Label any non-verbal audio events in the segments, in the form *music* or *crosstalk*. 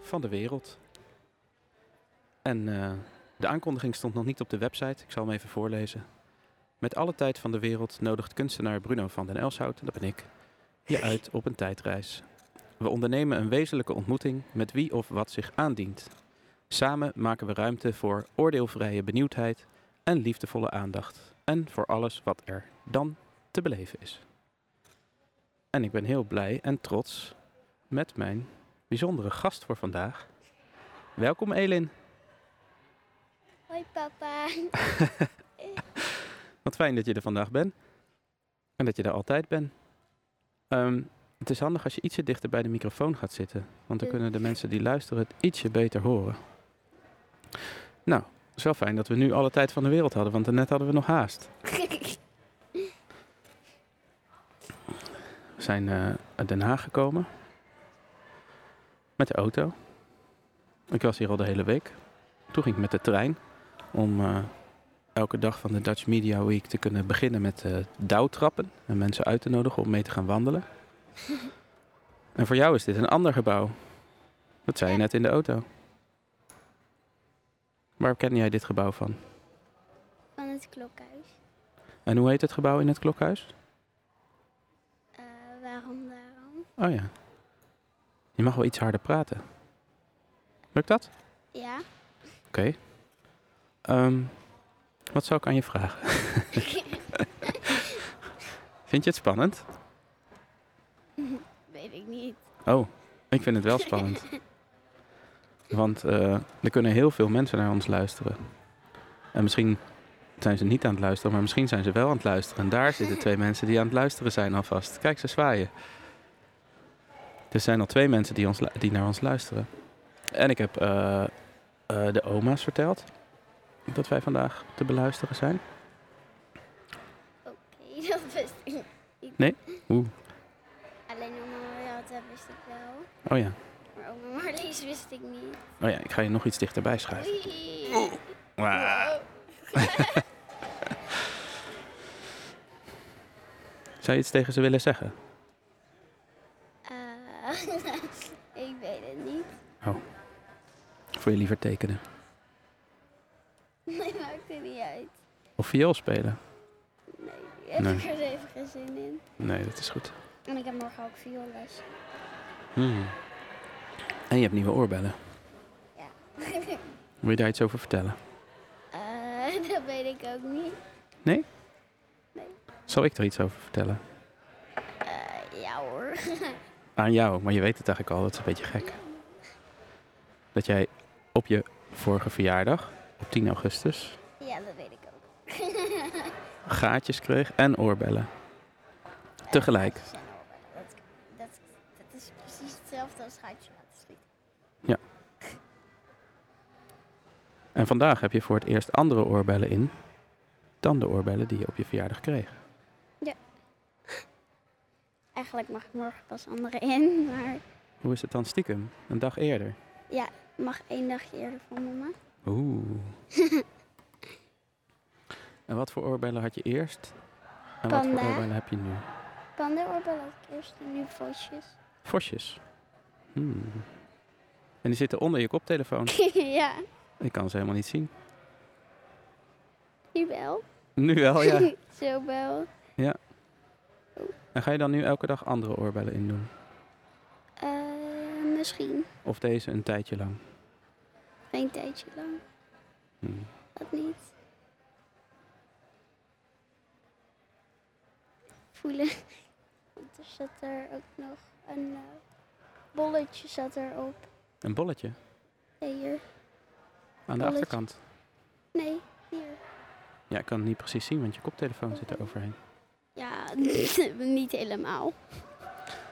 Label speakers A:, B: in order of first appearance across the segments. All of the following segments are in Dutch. A: van de wereld. En eh, de aankondiging stond nog niet op de website. Ik zal hem even voorlezen. Met alle tijd van de wereld nodigt kunstenaar Bruno van den Elshout, dat ben ik, je uit op een tijdreis. We ondernemen een wezenlijke ontmoeting met wie of wat zich aandient. Samen maken we ruimte voor oordeelvrije benieuwdheid en liefdevolle aandacht. En voor alles wat er dan te beleven is. En ik ben heel blij en trots met mijn bijzondere gast voor vandaag. Welkom Elin.
B: Hoi papa. *laughs*
A: Wat fijn dat je er vandaag bent. En dat je er altijd bent. Ehm, het is handig als je ietsje dichter bij de microfoon gaat zitten. Want dan
B: Ja.
A: kunnen de mensen die luisteren het ietsje beter horen. Nou, het is wel fijn dat we nu alle tijd van de wereld hadden. Want daarnet hadden we nog haast. We zijn eh, uit Den Haag gekomen. Met de auto. Ik was hier al de hele week. Toen ging ik met de trein. Om eh, elke dag van de Dutch Media Week te kunnen beginnen met eh douwtrappen. En mensen uit te nodigen om mee te gaan wandelen. en voor jou is dit een ander gebouw. Dat zei je net in de auto. Waar ken jij dit gebouw van?
B: Van het klokhuis.
A: En hoe heet het gebouw in het klokhuis?
B: Eh, waarom, waarom?
A: Oh ja. Je mag wel iets harder praten. Lukt dat?
B: Ja.
A: Oké. Ehm, wat zou ik aan je vragen? Vind je het spannend?
B: Weet ik niet.
A: Oh, ik vind het wel spannend. Want eh, er kunnen heel veel mensen naar ons luisteren. En misschien zijn ze niet aan het luisteren, maar misschien zijn ze wel aan het luisteren. En daar zitten twee mensen die aan het luisteren zijn alvast. Kijk, ze zwaaien. Er zijn al twee mensen die, ons, lu- die naar ons luisteren. En ik heb eh, eh, de oma's verteld dat wij vandaag te beluisteren zijn.
B: Oké, *laughs* dat wist ik niet.
A: Nee? Oeh.
B: Alleen oma Marlies dat wist ik wel.
A: Oh ja.
B: Maar oma Marlies wist ik niet.
A: Oh ja, ik ga je nog iets dichterbij schrijven.
B: Oei. *laughs*
A: Ah. Zou je iets tegen ze willen zeggen?
B: Eh, *laughs* ik weet het niet.
A: Of wil je liever tekenen?
B: Nee, maakt er niet uit.
A: Of viool spelen?
B: Nee, ik heb
A: Nee.
B: er even geen zin in.
A: Nee, dat is goed.
B: En ik heb morgen ook vioolles.
A: Hmm. En je hebt nieuwe oorbellen.
B: Ja. *laughs*
A: Wil je daar iets over vertellen?
B: Eh, *laughs* dat weet ik ook niet.
A: Zal ik er iets over vertellen?
B: Eh, ja hoor. *laughs*
A: Aan jou, maar je weet het eigenlijk al. Dat is een beetje gek. Dat jij op je vorige verjaardag, op 10 augustus,
B: Ja, dat weet ik ook.
A: gaatjes kreeg en oorbellen. Tegelijk.
B: Dat, dat, dat is precies hetzelfde als gaatje laten schieten.
A: En vandaag heb je voor het eerst andere oorbellen in dan de oorbellen die je op je verjaardag kreeg.
B: Eigenlijk mag ik morgen pas andere in, maar
A: Hoe is het dan stiekem? Een dag eerder.
B: ik mag één dagje eerder van mama.
A: Oeh. *laughs* en wat voor oorbellen had je eerst? En wat voor
B: Panda.
A: oorbellen heb je nu?
B: Pandoorbel had ik eerst en nu vosjes.
A: Vosjes. Hmm. En die zitten onder je koptelefoon.
B: *laughs* ja,
A: Ik kan ze helemaal niet zien.
B: nu wel.
A: Nu wel,
B: *laughs*
A: ja.
B: Zo wel.
A: En ga je dan nu elke dag andere oorbellen indoen?
B: Eh, misschien.
A: Of deze een tijdje lang?
B: Geen tijdje lang.
A: Hmm.
B: Dat niet. Voelen. *laughs* Want er zat er ook nog een eh, bolletje zat erop.
A: Een bolletje
B: Nee, hier.
A: aan de
B: Bolletje.
A: achterkant.
B: Nee, hier.
A: Ja, ik kan het niet precies zien, want je koptelefoon zit er overheen.
B: Ja, *laughs* niet helemaal.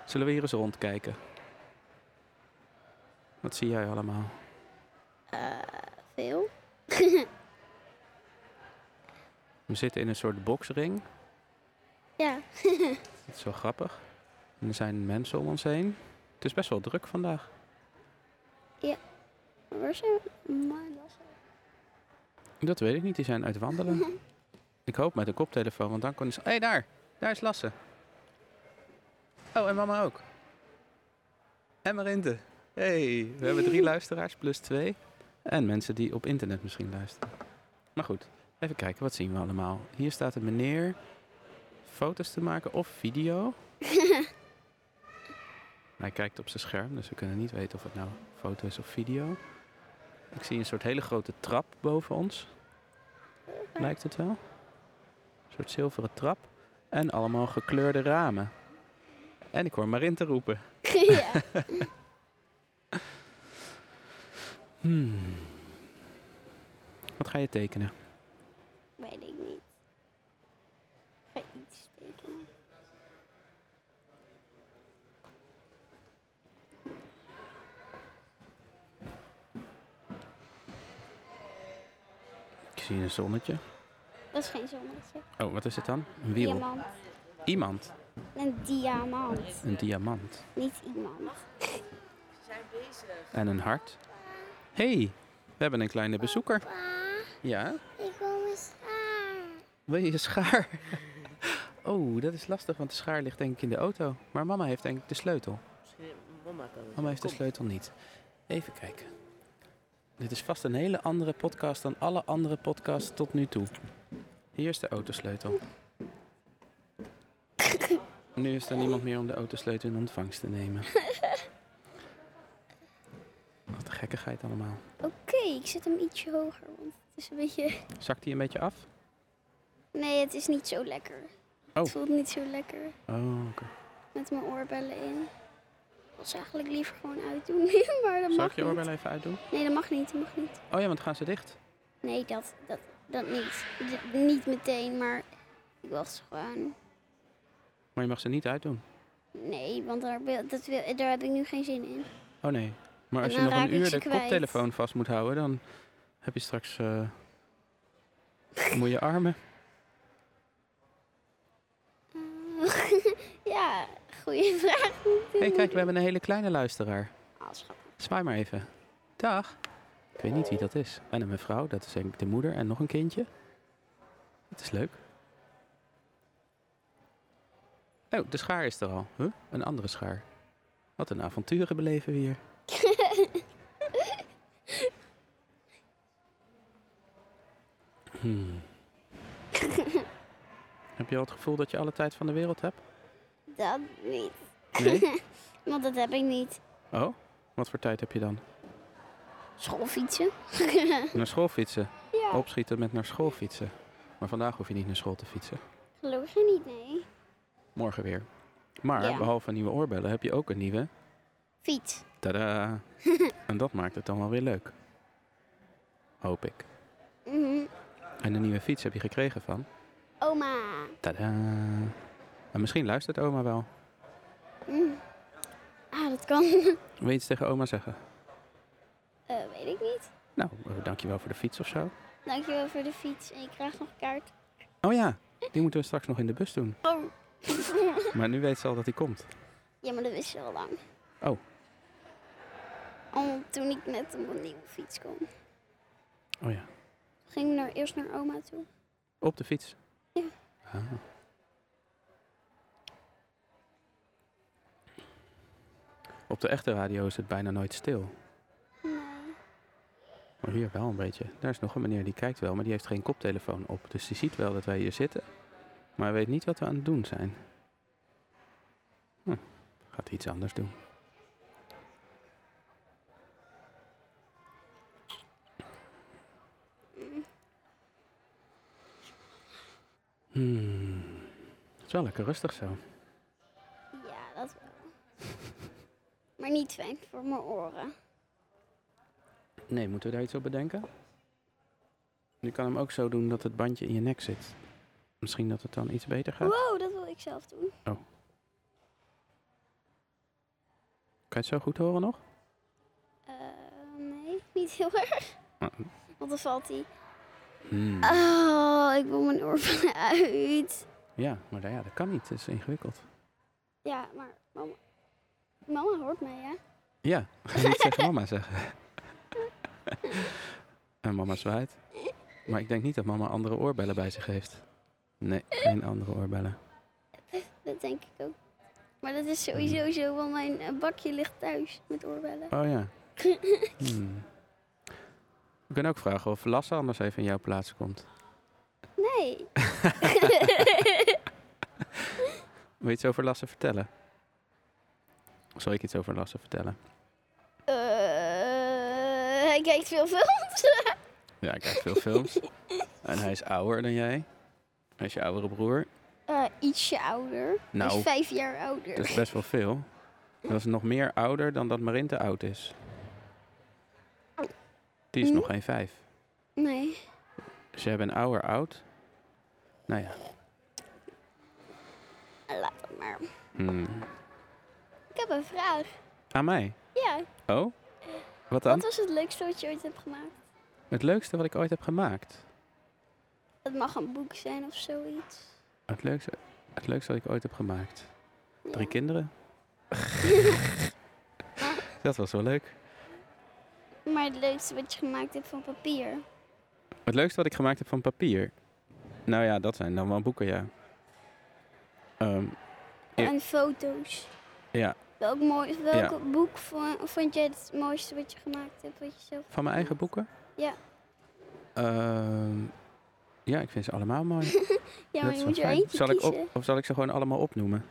A: Zullen we hier eens rondkijken? Wat zie jij allemaal?
B: Eh, veel. *laughs*
A: We zitten in een soort boksring.
B: Ja, *laughs*
A: Dat is wel grappig. En er zijn mensen om ons heen. Het is best wel druk vandaag.
B: waar zijn we? Maandag.
A: Dat weet ik niet, die zijn uit
B: *laughs*
A: wandelen. ik hoop met een koptelefoon, want dan kunnen ze... Hé, hey, daar! Daar is Lasse. Oh, en mama ook. En Marinte. hey, we hebben drie luisteraars, plus twee. En mensen die op internet misschien luisteren. Maar goed, even kijken, wat zien we allemaal? Hier staat een meneer foto's te maken of video. Hij kijkt op zijn scherm, dus we kunnen niet weten of het nou foto is of video. Ik zie een soort hele grote trap boven ons. Lijkt het wel. Een soort zilveren trap. En allemaal gekleurde ramen. En ik hoor Marinte roepen.
B: ja.
A: Hmm. Wat ga je tekenen?
B: Weet ik niet. Ik ga iets tekenen.
A: Ik zie een zonnetje.
B: Dat is geen zonnetje.
A: Oh, wat is het dan? Een wiel.
B: Diamant.
A: Iemand.
B: Een diamant.
A: Een diamant.
B: Niet iemand.
A: En een hart. Hé, hey, we hebben een kleine bezoeker. Ja?
B: ik wil mijn schaar.
A: Wil je je schaar? *laughs* Oh, dat is lastig, want de schaar ligt denk ik in de auto. Maar mama heeft denk ik de sleutel.
C: Misschien mama kan het.
A: Mama heeft de
C: Kom.
A: sleutel niet. Even kijken. Dit is vast een hele andere podcast dan alle andere podcasts tot nu toe. Hier is de
C: *laughs*
A: autosleutel. Nu is er niemand meer om de autosleutel in ontvangst te
C: *laughs*
A: nemen. Wat een gekkigheid allemaal.
B: Oké, ik zet hem ietsje hoger, want het is een beetje...
A: Zakt hij een beetje af?
B: Nee, het is niet zo lekker. Het
A: Oh.
B: voelt niet zo lekker
A: Oh, oké.
B: met mijn oorbellen in. Ik was eigenlijk liever gewoon uitdoen, *laughs* maar dat
A: Zal
B: mag
A: ik je
B: niet.
A: oorbel even uitdoen?
B: Nee, dat mag niet, dat mag niet.
A: Oh ja, want gaan ze dicht?
B: Nee, dat, dat, dat niet. D- niet meteen, maar ik was gewoon...
A: Maar je mag ze niet uitdoen.
B: Nee, want daar, wil- dat wil, daar heb ik nu geen zin in. *laughs*
A: Oh nee. Maar
B: En
A: als je
B: dan
A: nog een
B: raak ik
A: uur
B: ze
A: de
B: kwijt.
A: koptelefoon vast moet houden, dan heb je straks eh moeie armen.
B: Eh, ja, goede *laughs* vraag.
A: Hé, hey, kijk, we hebben een hele kleine luisteraar.
B: Ah, schattig.
A: Zwaai maar even. Dag. Ik weet niet wie dat is. En een mevrouw, dat is denk ik de moeder en nog een kindje. Dat is leuk. Oh, de schaar is er al. Huh? Een andere schaar. Wat een avonturen beleven we hier. Hmm. Heb je al het gevoel dat je alle tijd van de wereld hebt?
B: Dat niet,
A: Nee?
B: want dat heb ik niet.
A: Oh, wat voor tijd heb je dan?
B: Schoolfietsen?
A: Naar school fietsen.
B: *laughs* Ja.
A: opschieten met naar school fietsen. Maar vandaag hoef je niet naar school te fietsen.
B: Geloof je niet, nee.
A: Morgen weer. Maar
B: Ja.
A: behalve nieuwe oorbellen heb je ook een nieuwe.
B: Fiets.
A: Tada! en dat maakt het dan wel weer leuk. Hoop ik.
B: Mhm.
A: En een nieuwe fiets heb je gekregen van.
B: Oma.
A: Tada! En misschien luistert oma wel.
B: Mm. Ah, dat kan. *laughs*
A: Wil je iets tegen oma zeggen?
B: Eh, weet ik niet.
A: Nou, eh, dankjewel voor de fiets of zo.
B: Dankjewel voor de fiets. En je krijgt nog een kaart.
A: Oh ja, die moeten we straks nog in de bus doen.
B: Oh.
A: Maar nu weet ze al dat die komt.
B: Ja, maar dat wist je al lang.
A: Oh.
B: Al toen ik net op een nieuwe fiets kwam.
A: Oh ja,
B: Ging ik naar, eerst naar oma toe.
A: op de fiets.
B: Ja.
A: Ah. Op de echte radio is het bijna nooit stil.
B: Nee.
A: Maar hier wel een beetje. Daar is nog een meneer die kijkt wel, maar die heeft geen koptelefoon op. Dus die ziet wel dat wij hier zitten, maar hij weet niet wat we aan het doen zijn. Hm, gaat hij iets anders doen.
B: Mm,
A: Hmm. Het is wel lekker rustig zo. *laughs*
B: Ja, dat wel. maar niet fijn voor mijn oren.
A: Nee, moeten we daar iets op bedenken? Je kan hem ook zo doen dat het bandje in je nek zit. Misschien dat het dan iets beter gaat.
B: Wow, dat wil ik zelf doen.
A: Kan je het zo goed horen nog?
B: Eh, *laughs* niet heel erg.
A: Maar-
B: Want dan valt hij.
A: Hmm.
B: Oh, ik wil mijn oorbellen *laughs* uit.
A: Ja, maar nou ja, dat kan niet. Dat is ingewikkeld.
B: Ja, maar mama, mama hoort mij, hè?
A: Ja, ga niet tegen mama zeggen. en mama zwaait. Maar ik denk niet dat mama andere oorbellen bij zich heeft. Nee, geen andere oorbellen.
B: Dat denk ik ook. Maar dat is
A: Hmm.
B: sowieso zo, want mijn eh, bakje ligt thuis met oorbellen.
A: Oh ja. Hmm. We kunnen ook vragen of Lasse anders even in jouw plaats komt.
B: *laughs*
A: *laughs*
B: Nee.
A: Wil je iets over Lasse vertellen? Of Zal ik iets over Lasse vertellen?
B: Eh, hij kijkt veel films. *laughs*
A: Ja, ik kijk veel *laughs* films. En hij is ouder dan jij. Hij is je oudere broer.
B: Eh, ietsje ouder.
A: Nou.
B: Dus vijf jaar ouder.
A: Dat is best wel veel. Dat is nog meer ouder dan dat Marinte oud is. Die is nog geen vijf.
B: Nee.
A: Ze hebben een ouder oud. Nou ja.
B: Eh, Laat het maar.
A: hmm.
B: Ik heb een vraag.
A: Aan mij.
B: Ja,
A: Oh? Wat
B: wat
A: dan?
B: was het leukste wat je ooit hebt gemaakt?
A: Het leukste wat ik ooit heb gemaakt.
B: Het mag een boek zijn of zoiets.
A: Het leukste, het leukste wat ik ooit heb gemaakt.
B: Ja.
A: Drie kinderen. dat was wel leuk.
B: Maar het leukste wat je gemaakt hebt van papier.
A: Het leukste wat ik gemaakt heb van papier. Nou ja, dat zijn dan wel boeken, ja. Ehm, Ja.
B: En foto's.
A: Ja.
B: Welk, mooi, welk boek vo- vond jij het mooiste wat je gemaakt hebt? Wat je zelf...
A: Van mijn eigen boeken?
B: Ja.
A: Ehm, ja, ik vind ze allemaal mooi.
B: *laughs*
A: Dat
B: Ja, maar
A: is
B: je
A: wel
B: moet je
A: fijn.
B: eentje
A: zal ik
B: kiezen.
A: op, Of zal ik ze gewoon allemaal opnoemen?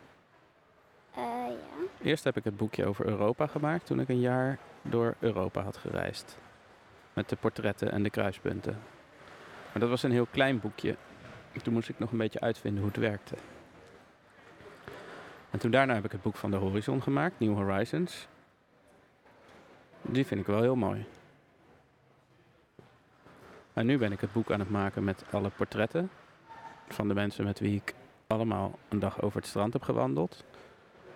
B: Eh, ja.
A: Eerst heb ik het boekje over Europa gemaakt toen ik een jaar door Europa had gereisd. Met de portretten en de kruispunten. Maar dat was een heel klein boekje. Toen moest ik nog een beetje uitvinden hoe het werkte. En toen daarna heb ik het boek van de horizon gemaakt, New Horizons. Die vind ik wel heel mooi. En nu ben ik het boek aan het maken met alle portretten van de mensen met wie ik allemaal een dag over het strand heb gewandeld.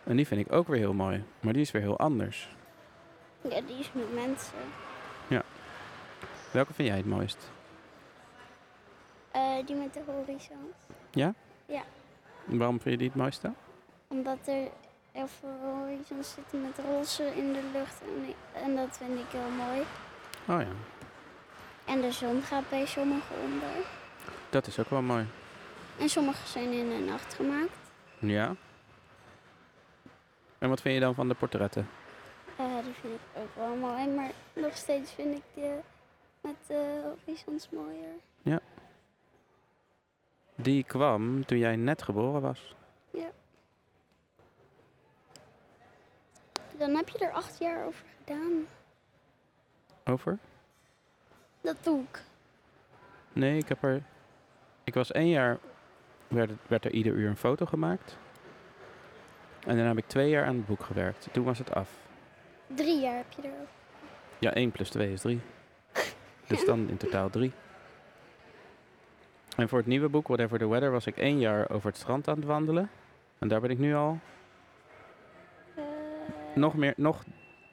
A: En die vind ik ook weer heel mooi, maar die is weer heel anders.
B: ja, die is met mensen.
A: Welke vind jij het mooist?
B: Eh, die met de horizon.
A: Waarom vind je die het mooiste?
B: Omdat er heel veel horizons zitten met roze in de lucht. En, en dat vind ik heel mooi.
A: Oh ja,
B: En de zon gaat bij sommigen onder.
A: dat is ook wel mooi.
B: En sommige zijn in de nacht gemaakt.
A: Ja. En wat vind je dan van de portretten?
B: Eh, die vind ik ook wel mooi. Maar nog steeds vind ik die met de horizons mooier.
A: Die kwam toen jij net geboren was.
B: Dan heb je er acht jaar over gedaan.
A: Over?
B: Dat doe ik.
A: Nee, ik heb er. Ik was één jaar. Werd, het- werd er ieder uur een foto gemaakt. En daarna heb ik twee jaar aan het boek gewerkt. Toen was het af.
B: Drie jaar heb je er
A: Ja, 1 plus 2 is 3. Dus dan in totaal 3. En voor het nieuwe boek, Whatever the Weather, was ik één jaar over het strand aan het wandelen. En daar ben ik nu al
B: Eh,
A: nog, meer, nog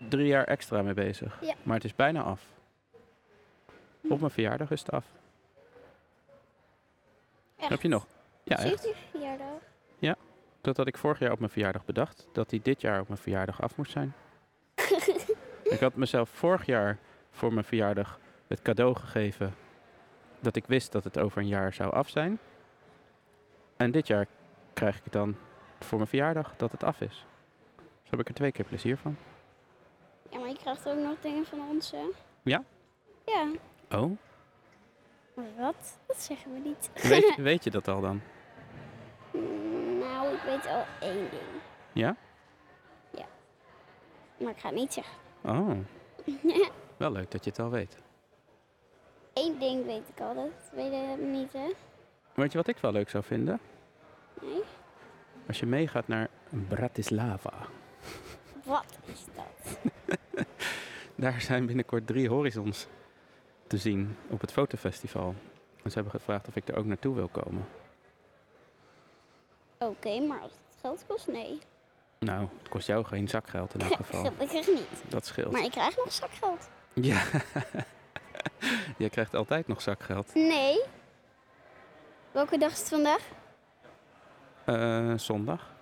A: drie jaar extra mee bezig.
B: Ja.
A: Maar het is bijna af. Op mijn verjaardag is het af.
B: echt.
A: Heb je nog? Ja, echt.
B: 17 *laughs* verjaardag.
A: Dat had ik vorig jaar op mijn verjaardag bedacht. Dat die dit jaar op mijn verjaardag af moest zijn. ik had mezelf vorig jaar voor mijn verjaardag het cadeau gegeven. Dat ik wist dat het over een jaar zou af zijn. En dit jaar krijg ik het dan voor mijn verjaardag dat het af is. Dus heb ik er twee keer plezier van.
B: Ja, maar je krijgt ook nog dingen van ons, hè?
A: Ja?
B: Ja.
A: Oh?
B: Wat? Dat zeggen we niet.
A: *laughs* Weet, weet je dat al dan?
B: Mm, Nou, ik weet al één ding.
A: Ja?
B: Ja. Maar ik ga het niet zeggen. *laughs*
A: Oh. Wel leuk dat je het al weet.
B: Eén ding weet ik al, dat weet je niet, hè?
A: Weet je wat ik wel leuk zou vinden?
B: Nee?
A: Als je meegaat naar Bratislava.
B: Wat is dat?
A: Daar zijn binnenkort drie horizons te zien op het fotofestival. En ze hebben gevraagd of ik er ook naartoe wil komen.
B: Oké, maar als het geld kost, nee.
A: Nou, het kost jou geen zakgeld in elk geval.
B: Dat krijg ik niet.
A: Dat scheelt.
B: Maar ik krijg nog zakgeld.
A: Ja. *laughs* Jij krijgt altijd nog zakgeld.
B: Nee. Welke dag is het vandaag?
A: Eh, zondag.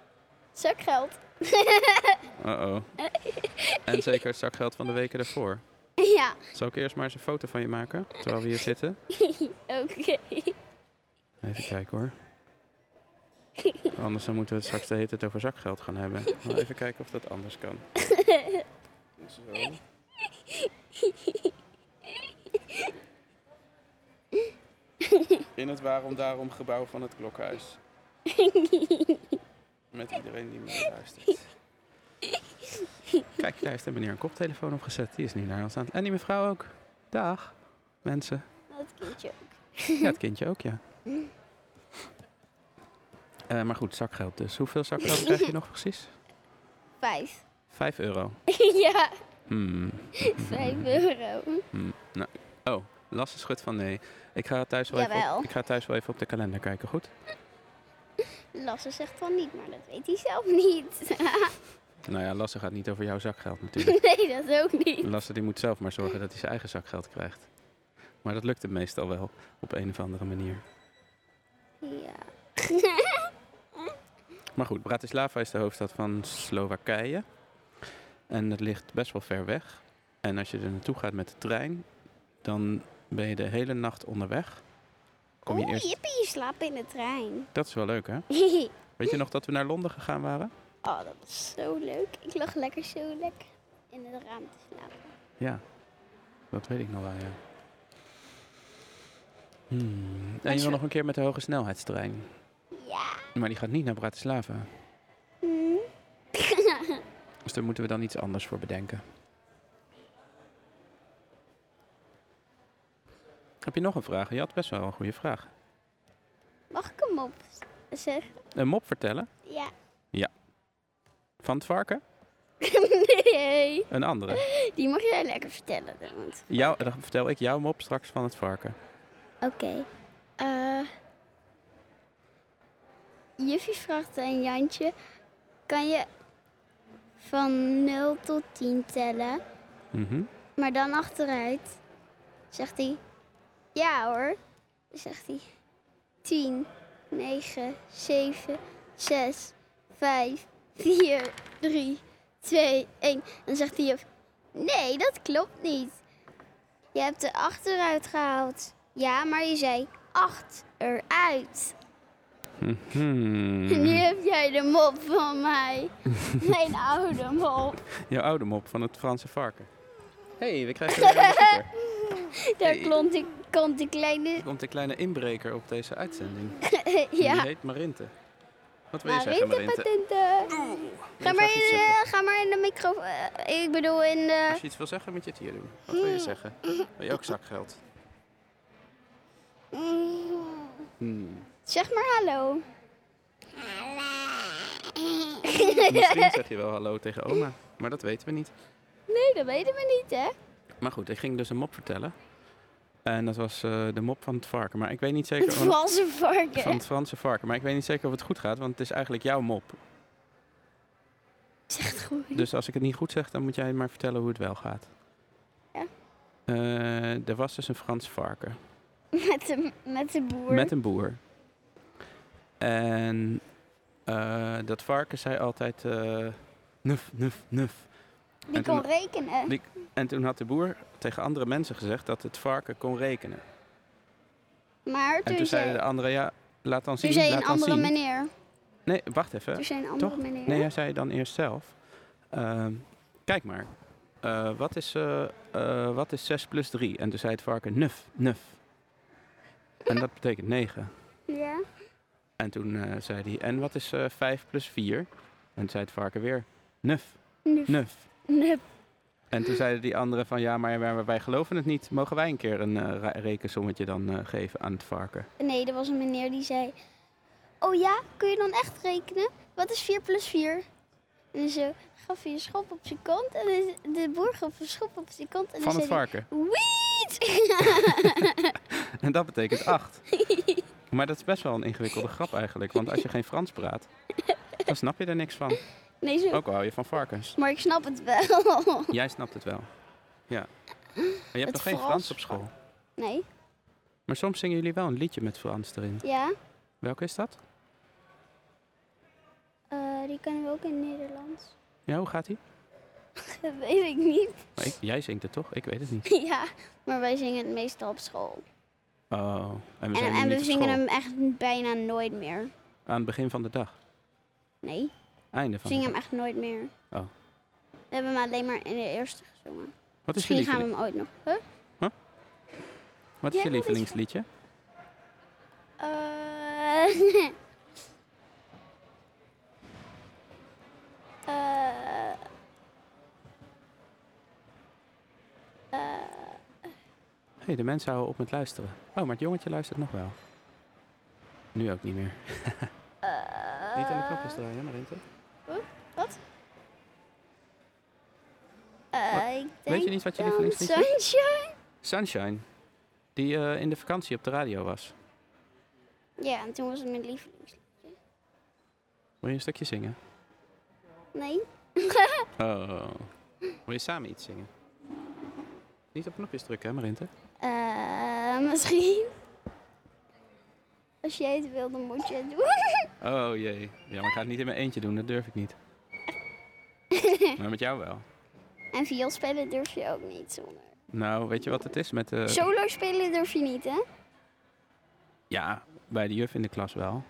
B: Zakgeld.
A: Uh-oh. En zeker het zakgeld van de weken daarvoor.
B: *laughs* ja,
A: Zal ik eerst maar eens een foto van je maken? Terwijl we hier zitten.
B: oké.
A: Even kijken hoor. Anders dan moeten we het straks de hele tijd over zakgeld gaan hebben. Maar even kijken of dat anders kan. Zo. In het waarom daarom gebouw van het klokhuis. Met iedereen die mee luistert. Kijk, daar heeft de meneer een koptelefoon op gezet. Die is nu naar ons aan. het- En die mevrouw ook. Dag, mensen.
B: Dat kindje.
A: Ja, het kindje ook, ja. Eh, maar goed, zakgeld dus. Hoeveel zakgeld krijg je nog precies?
B: Vijf.
A: Vijf euro.
B: *laughs* ja,
A: Hmm.
B: vijf euro.
A: Hmm. Nou, oh, Lasse schudt van nee. Ik ga, thuis wel even
B: Jawel.
A: op, ik ga thuis wel even op de kalender kijken, goed?
B: Lasse zegt van niet, maar dat weet hij zelf niet. *laughs*
A: Nou ja, Lasse gaat niet over jouw zakgeld natuurlijk.
B: nee, dat ook niet.
A: Lasse die moet zelf maar zorgen dat hij zijn eigen zakgeld krijgt. Maar dat lukt hem meestal wel, op een of andere manier.
B: Ja.
A: Maar goed, Bratislava is de hoofdstad van Slowakije. En dat ligt best wel ver weg. En als je er naartoe gaat met de trein, dan ben je de hele nacht onderweg. Kom je
B: Oeh,
A: eerst...
B: Oh, jippie, je slaapt in de trein. *laughs*
A: Dat is wel leuk, hè? Weet je nog dat we naar Londen gegaan waren?
B: oh, dat was zo leuk. Ik lag lekker zo lekker in het raam te slapen.
A: Ja, dat weet ik nog wel, ja. Hmm. En je wil
B: zo-
A: nog een keer met de hoge snelheidstrein.
B: Ja.
A: Maar die gaat niet naar Bratislava.
B: Hm.
A: Dus daar moeten we dan iets anders voor bedenken. Heb je nog een vraag? Je had best wel een goede vraag.
B: Mag ik hem op zeggen?
A: Een mop vertellen?
B: Ja. *laughs*
A: Van het varken?
B: nee.
A: Een andere.
B: Die mag jij lekker vertellen dan. want-
A: Jou, dan vertel ik jouw mop straks van het varken.
B: Oké. Eh, Juffie vraagt aan Jantje: kan je van 0 tot 10 tellen,
A: Mhm.
B: maar dan achteruit? Zegt hij: Ja hoor. Dan zegt hij: 10, 9, 7, 6, 5, 4, 3, 2, 1. Dan zegt hij: Nee, dat klopt niet. Je hebt de achteruit gehaald. Ja, maar je zei achteruit.
A: Mhm.
B: Nu heb jij de mop van
A: *laughs*
B: mij. Mijn oude mop.
A: Jouw oude mop van het Franse varken. Hé, hey, we krijgen weer een bezoeker.
B: Daar
A: Hey.
B: klonk de, kon de kleine... *laughs*
A: Er komt een kleine inbreker op deze uitzending. Die
B: ja.
A: heet Marinte. Wat wil je
B: Maar
A: zeggen, Marinte?
B: patenten. Ga
A: Ik
B: maar,
A: zag
B: in
A: iets
B: de, ga maar in de microfoon. eh, Ik bedoel in de...
A: Als je iets wil zeggen, moet je het hier doen. Wat wil je zeggen? Wil je ook zakgeld? Hmm.
B: Mm. Zeg maar hallo. *laughs*
A: Misschien zeg je wel hallo tegen oma, maar dat weten we niet.
B: Nee, dat weten we niet, hè?
A: Maar goed, ik ging dus een mop vertellen. En dat was eh, de mop van het varken. Maar ik weet niet
B: Het
A: zeker... of-
B: valse varken.
A: Van het Franse varken. Maar ik weet niet zeker of het goed gaat, want het is eigenlijk jouw mop.
B: Zeg het goed.
A: Dus als ik het niet goed zeg, dan moet jij maar vertellen hoe het wel gaat.
B: Ja.
A: Eh, er was dus een Frans varken.
B: Met de, met de boer.
A: Met een boer. En eh, dat varken zei altijd eh, nuf, nuf, nuf.
B: Die
A: en
B: kon
A: toen-
B: rekenen.
A: die- En toen had de boer tegen andere mensen gezegd dat het varken kon rekenen.
B: Maar
A: En
B: toen,
A: toen
B: zei,
A: zeiden de anderen, ja, laat dan zien,
B: toen zei
A: laat
B: een
A: dan
B: eh, andere
A: zien.
B: meneer.
A: Nee, wacht even.
B: Toen zei een andere
A: Toch?
B: meneer.
A: Nee, jij zei dan eerst zelf. ehm, kijk maar, eh, wat, is, eh, eh, wat is 6 plus 3? En toen zei het varken nuf, nuf. En dat betekent 9.
B: Ja.
A: En toen eh, zei hij, en wat is eh 5 plus 4? En toen zei het varken weer, nuf,
B: Nu.
A: nuf.
B: Nu.
A: En toen zeiden die anderen van, ja, maar wij, wij geloven het niet. Mogen wij een keer een eh, ra- rekensommetje dan eh, geven aan het varken?
B: Nee, er was een meneer die zei... Oh ja, kun je dan echt rekenen? Wat is 4 plus 4? En zo gaf hij een schop op zijn kont. En de, de boer gaf een schop op zijn kont. En
A: Van
B: dan
A: het
B: zei
A: varken.
B: hij... Wiet!
A: En dat betekent 8. Maar dat is best wel een ingewikkelde grap eigenlijk. Want als je geen Frans praat, dan snap je er niks van.
B: *laughs*
A: Oh.
B: Nee, zo...
A: Ook al hou je van varkens.
B: Maar ik snap het wel. *laughs*
A: Jij snapt het wel. Ja. je hebt
B: Het
A: nog geen
B: Frans.
A: Frans op school.
B: Nee?
A: Maar soms zingen jullie wel een liedje met Frans erin.
B: Ja?
A: Welke is dat?
B: Eh, die kennen we ook in het Nederlands. *laughs*
A: Ja, hoe gaat die?
B: Dat weet ik niet. *laughs*
A: Maar ik- jij zingt het toch? Ik weet het niet.
B: ja, maar wij zingen het meestal op school.
A: Oh, en we,
B: en
A: zijn nu
B: en we
A: niet op
B: zingen
A: school.
B: hem echt bijna nooit meer.
A: Aan het begin van de dag.
B: Nee, we
A: Einde van de
B: zingen hem
A: dag.
B: echt nooit meer.
A: Oh.
B: We hebben hem alleen maar in de eerste gezongen.
A: Wat is je,
B: Misschien gaan we
A: lieveling,
B: hem ooit nog. Huh?
A: wat is je
B: Ja, dat is-
A: lievelingsliedje?
B: Eh, Eh, eh,
A: Hé, hey, de mensen houden op met luisteren. Oh, maar het jongetje luistert nog wel. Nu ook niet meer. niet aan de knopjes draaien, Marinte.
B: eh,
A: Wat-
B: ik denk
A: Weet je niet wat je
B: dan
A: lievelingsliedje is?
B: Sunshine.
A: Sunshine. Die eh, in de vakantie op de radio was.
B: Ja, en toen was het mijn lievelingslied.
A: Wil je een stukje zingen?
B: Nee?
A: Oh. Wil je samen iets zingen? Niet op knopjes drukken, hè, Marinte?
B: Eh, misschien. Als jij het wil, dan moet je het doen. *laughs*
A: Oh jee. Ja, maar ik ga het niet in mijn eentje doen, dat durf ik *laughs* niet. maar met jou wel.
B: En viool spelen durf je ook niet zonder.
A: Nou, weet je wat het is met de...
B: Solo spelen durf je niet, hè?
A: Ja, bij de juf in de klas *laughs* wel.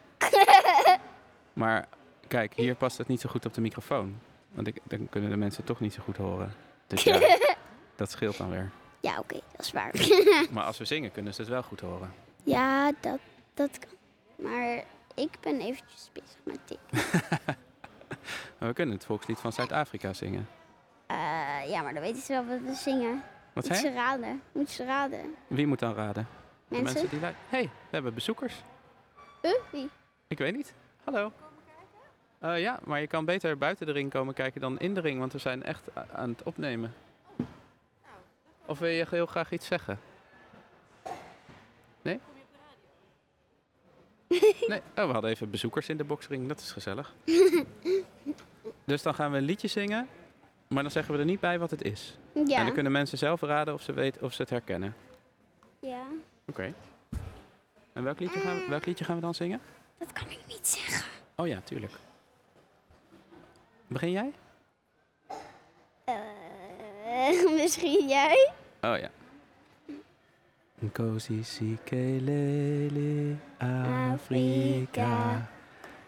A: maar kijk, hier past het niet zo goed op de microfoon. Want ik, dan kunnen de mensen toch niet zo goed horen. Dus ja, *laughs* dat scheelt dan weer.
B: Ja, oké, dat is
A: *laughs*
B: waar.
A: Maar als we zingen, kunnen ze het wel goed horen.
B: ja, dat, dat kan. Maar ik ben eventjes bezig met dit.
A: Maar *laughs* we kunnen het volkslied van Zuid-Afrika zingen.
B: Eh, ja, maar dan weten ze wel wat we zingen.
A: Wat
B: Moet
A: zei
B: ze
A: je?
B: raden. Moet ze raden.
A: Wie moet dan raden? De
B: Mensen?
A: mensen die luisteren. hey, we hebben bezoekers.
B: Eh, wie?
A: Ik weet niet. Hallo. Eh, ja, maar je kan beter buiten de ring komen kijken dan in de ring, want we zijn echt a- aan het opnemen. Of wil je heel graag iets zeggen? Nee? *laughs* Nee, oh, we hadden even bezoekers in de boxring, dat is gezellig. Dus dan gaan we een liedje zingen, maar dan zeggen we er niet bij wat het is. En
B: Ja.
A: dan kunnen mensen zelf raden of ze, weten, of ze het herkennen.
B: Ja.
A: Oké. En welk liedje, gaan we, welk liedje gaan we dan zingen?
B: Dat kan ik niet zeggen.
A: Oh ja, tuurlijk. Begin jij?
B: Eh, *laughs* misschien jij?
A: Oh ja. Nkosi sikelele Afrika.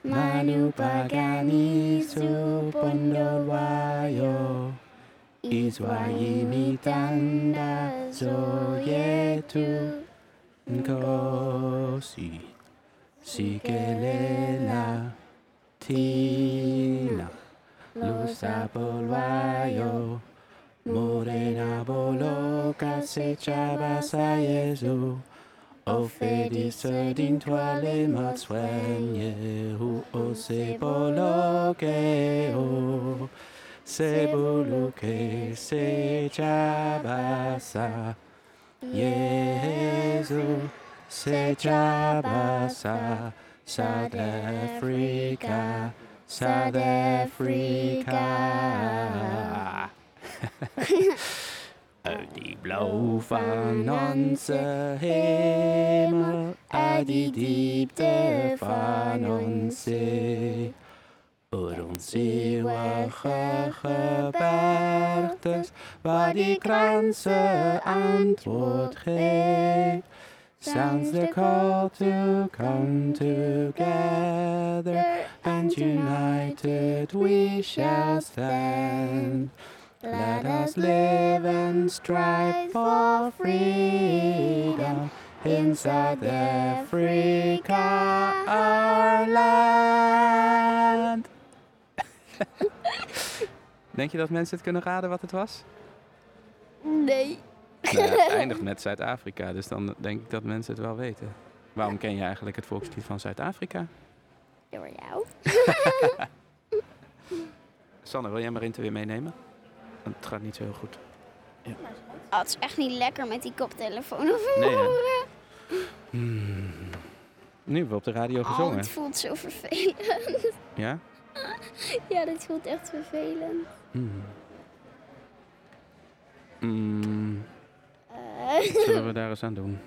A: Manu pagani su pondolwayo. Izwa imitanda zo yetu. Nkosi sikelela tina. Lusa polvayo, morena boloka se chabasa yezu. Ofedice din toi les mots soignés, ou o se boloke o. Se boloke se chabasa yezu. Se chabasa South Africa. South *laughs* Africa. Uit Oh, die blauw van onze hemel, uit die diepte van onze zee. Voor ons eeuwige gebergtes, waar die kransen antwoord geeft. Sounds the call to come together. and united we shall stand. Let us live and strive for freedom in South Africa, our land. *laughs* Denk je dat mensen het kunnen raden wat het was?
B: Nee.
A: Nou, ja, het eindigt met Zuid-Afrika, dus dan denk ik dat mensen het wel weten. Waarom ken je eigenlijk het volkslied van Zuid-Afrika?
B: Door jou?
A: Sanne, wil jij Marinte weer meenemen? Want het gaat niet zo heel goed.
B: Oh, het is echt niet lekker met die koptelefoon op
A: Nee, hè? Hmm.
B: horen.
A: Nu hebben we op de radio
B: Oh,
A: gezongen.
B: het voelt zo vervelend. *laughs*
A: Ja?
B: Ja, dit voelt echt vervelend.
A: Mm.
B: Eh,
A: Zullen we daar eens aan doen?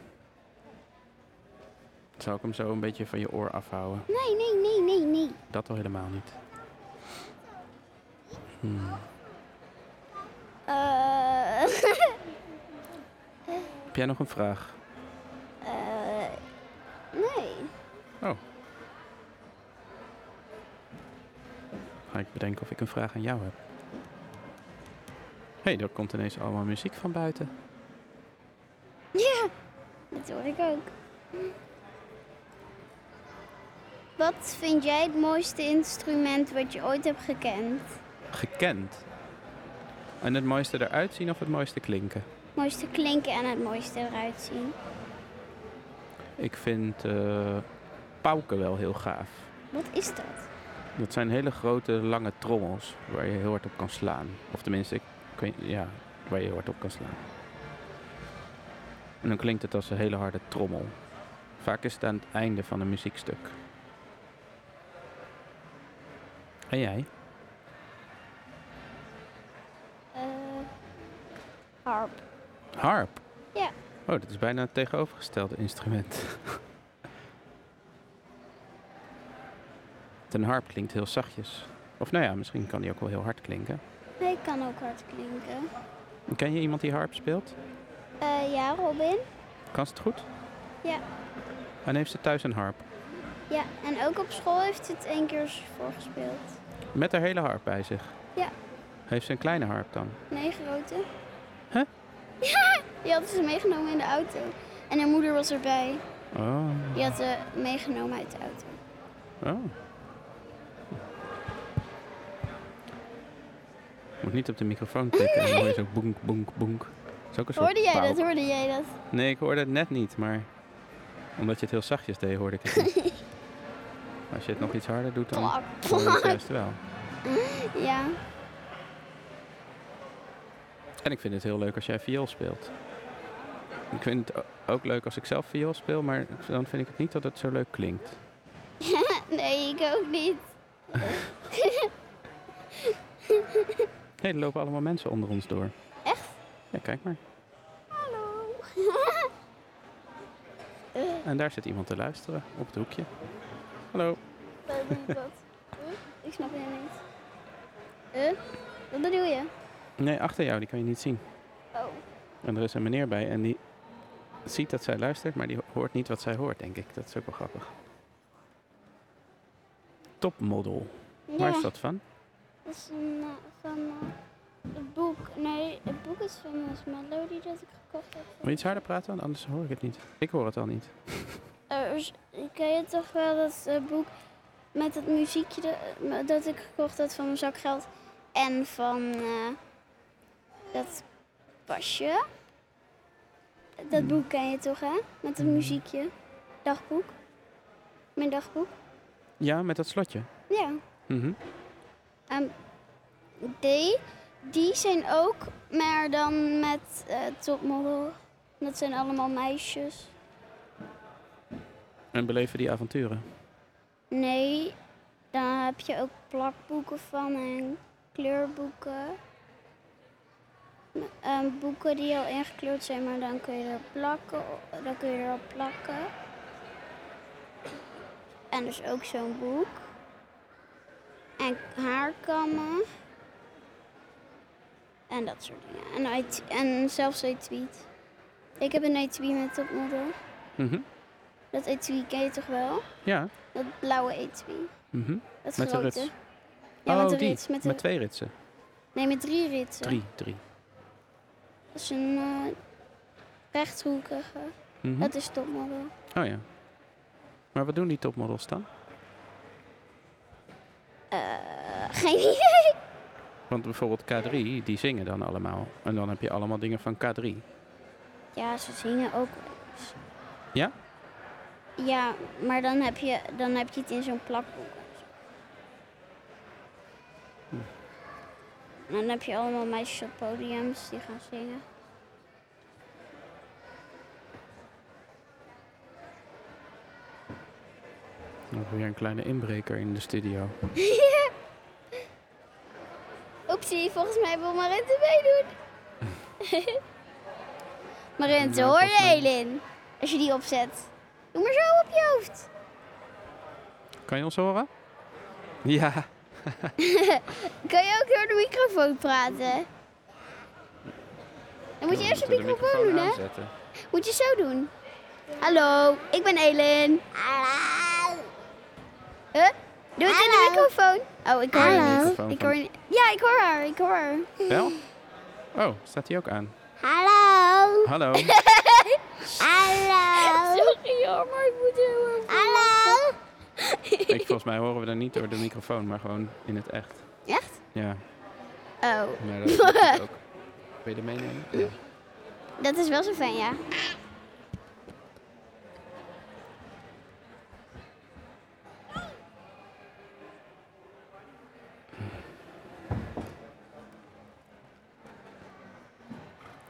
A: Zou ik hem zo een beetje van je oor afhouden?
B: *laughs* Nee, nee, nee, nee, nee.
A: Dat al helemaal niet. Hmm.
B: Eh, *laughs*
A: Heb jij nog een vraag?
B: eh, nee.
A: Oh. Ga ik bedenken of ik een vraag aan jou heb. Hé, hey, daar komt ineens allemaal muziek van buiten.
B: Ja, dat hoor ik ook. Wat vind jij het mooiste instrument wat je ooit hebt gekend?
A: Gekend. En het mooiste eruit zien of het mooiste klinken?
B: Het mooiste klinken en het mooiste eruit zien.
A: Ik vind eh, pauken wel heel gaaf.
B: Wat is dat?
A: Dat zijn hele grote, lange trommels waar je heel hard op kan slaan. Of tenminste, ik, ik weet- ja, waar je heel hard op kan slaan. En dan klinkt het als een hele harde trommel. Vaak is het aan het einde van een muziekstuk. En jij?
B: Eh, harp.
A: Harp?
B: Ja.
A: Oh, dat is bijna het tegenovergestelde instrument. *laughs* Een harp klinkt heel zachtjes. Of nou ja, misschien kan die ook wel heel hard klinken.
B: Hij kan ook hard klinken.
A: Ken je iemand die harp speelt?
B: Eh, ja, Robin?
A: Kan ze het goed?
B: Ja.
A: En heeft ze thuis een harp?
B: Ja, en ook op school heeft ze het één keer voorgespeeld.
A: Met haar hele harp bij zich?
B: Ja.
A: Heeft ze een kleine harp dan?
B: Nee, grote.
A: Huh?
B: Ja, die hadden ze meegenomen in de auto. En haar moeder was erbij.
A: Oh.
B: Die had ze meegenomen uit de auto.
A: oh. Moet niet op de microfoon tikken. Dan hoor je
B: *laughs*
A: zo boenk, boenk, boenk. Dat Is ook een soort
B: Hoorde jij
A: pauw.
B: dat? Hoorde jij dat?
A: Nee, ik hoorde het net niet, maar omdat je het heel zachtjes deed, hoorde ik het niet. Als je het nog iets harder doet, dan hoor
B: Plak,
A: je het
B: plak.
A: juist wel.
B: Ja.
A: En ik vind het heel leuk als jij viool speelt. Ik vind het o- ook leuk als ik zelf viool speel, maar dan vind ik het niet dat het zo leuk klinkt.
B: Nee, ik ook niet.
A: Hé, er lopen allemaal mensen onder ons door.
B: Echt?
A: Ja, kijk maar.
B: Hallo.
A: En daar zit iemand te luisteren, op het hoekje. Hallo.
B: Wat doe je *laughs* dat? Huh? Ik snap het niet. Huh? Wat bedoel je?
A: Nee, achter jou, die kan je niet zien.
B: Oh.
A: En er is een meneer bij en die ziet dat zij luistert, maar die hoort niet wat zij hoort, denk ik. Dat is ook wel grappig. Topmodel.
B: Ja,
A: Waar is dat van?
B: dat is een, eh, van eh, het boek. Nee, het boek is van Miss Melody dat ik gekocht heb.
A: Moet je iets harder praten, want anders hoor ik het niet. Ik hoor het al niet.
B: Eh, is- ken je toch wel dat eh, boek met dat muziekje de- dat ik gekocht had van mijn zakgeld? En van eh, dat pasje? Dat boek ken je toch, hè? Met dat muziekje. Dagboek. Mijn dagboek.
A: Ja, met dat slotje.
B: Ja.
A: Mhm.
B: Ehm, die, die zijn ook, maar dan met eh topmodel. Dat zijn allemaal meisjes.
A: En beleven die avonturen.
B: Nee, dan heb je ook plakboeken van en kleurboeken. Ehm, boeken die al ingekleurd zijn, maar dan kun je er plakken. Dan kun je erop plakken. En dus ook zo'n boek. En haarkammen. En dat soort dingen. En, uit- en zelfs etui. Ik heb een etui met topmodel.
A: Mhm.
B: Dat etui ken je toch wel?
A: Ja.
B: Dat blauwe etui.
A: Mhm.
B: Dat
A: Met de
B: grote.
A: rits.
B: Ja, met
A: oh,
B: de
A: die.
B: rits. Met de,
A: Met twee ritsen.
B: Nee, met drie ritsen.
A: Drie, drie.
B: Dat is een eh, rechthoekige.
A: Mhm.
B: Dat is topmodel.
A: Oh ja. Maar wat doen die topmodels dan?
B: Eh, *laughs* geen idee.
A: Want bijvoorbeeld K3, die zingen dan allemaal. En dan heb je allemaal dingen van K3.
B: Ja, ze zingen ook wel eens.
A: Ja?
B: Ja, maar dan heb je, dan heb je het in zo'n plakboek. of zo.
A: Hm.
B: En Dan heb je allemaal meisjes op podiums die gaan zingen.
A: Dan weer een kleine inbreker in de studio. *laughs*
B: Oepsie, volgens mij wil Marit erbij doen. Maar er zit
A: Ja,
B: een
A: volgens mij
B: oordeel in. Als je die opzet. Doe maar zo op je hoofd.
A: Kan je ons horen? Ja,
B: Kan je ook door de microfoon praten? Dan moet je
A: we
B: eerst de
A: moeten
B: microfoon doen, hè?
A: aanzetten.
B: Moet je zo doen. Hallo, ik ben Elin. Huh? Doe het in de microfoon. Oh, ik hoor je
A: Hallo.
B: niet.
A: Microfoon
B: Ik
A: van-
B: hoor je niet. Ja, ik hoor haar. Ik hoor haar.
A: Wel? *laughs* Oh, staat die ook aan?
B: Hallo.
A: Hallo.
B: Hallo. *laughs* Sorry hoor, maar ik moet heel erg... Hallo.
A: Ik, volgens mij horen we dat niet door de microfoon, maar gewoon in het echt.
B: Echt?
A: Ja,
B: Oh,
A: maar dat
B: *laughs*
A: is ook. Wil je er meenemen? Ja.
B: dat is wel zo fijn, ja.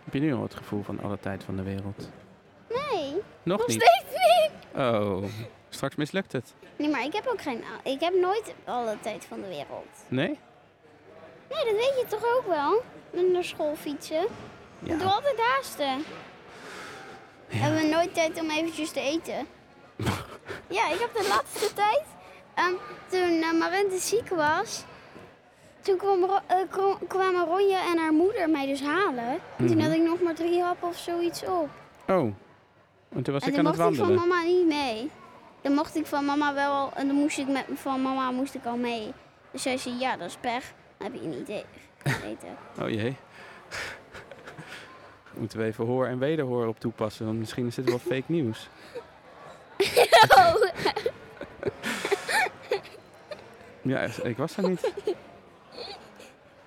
A: Heb je nu al het gevoel van alle tijd van de wereld?
B: Nee,
A: Nog
B: nog
A: niet?
B: steeds niet.
A: Oh, straks mislukt het.
B: Nee, maar ik heb ook geen... Ik heb nooit alle tijd van de wereld.
A: Nee?
B: Nee, dat weet je toch ook wel? Met naar school fietsen. Ik doe
A: Ja.
B: altijd haasten. Hebben we nooit tijd om eventjes te
A: *laughs*
B: eten? ja, ik heb de laatste tijd, ehm, toen eh, Marente ziek was, toen kwam Ro- eh, kro- kwamen Ronje en haar moeder mij dus halen. En toen
A: Mhm.
B: had ik nog maar drie happen of zoiets op.
A: Oh, en toen was
B: en
A: ik
B: toen
A: aan het
B: mocht ik van
A: wandelen.
B: mama niet mee. Dan mocht ik van mama wel al, en dan moest ik met van mama moest ik al mee. Dus zij zei, ja, dat is pech. Dan heb je niet e-
A: *laughs*
B: eten.
A: Oh jee. Moeten we even hoor en wederhoor op toepassen, want misschien is dit wel fake nieuws. Ja, ik was er
B: *laughs*
A: niet.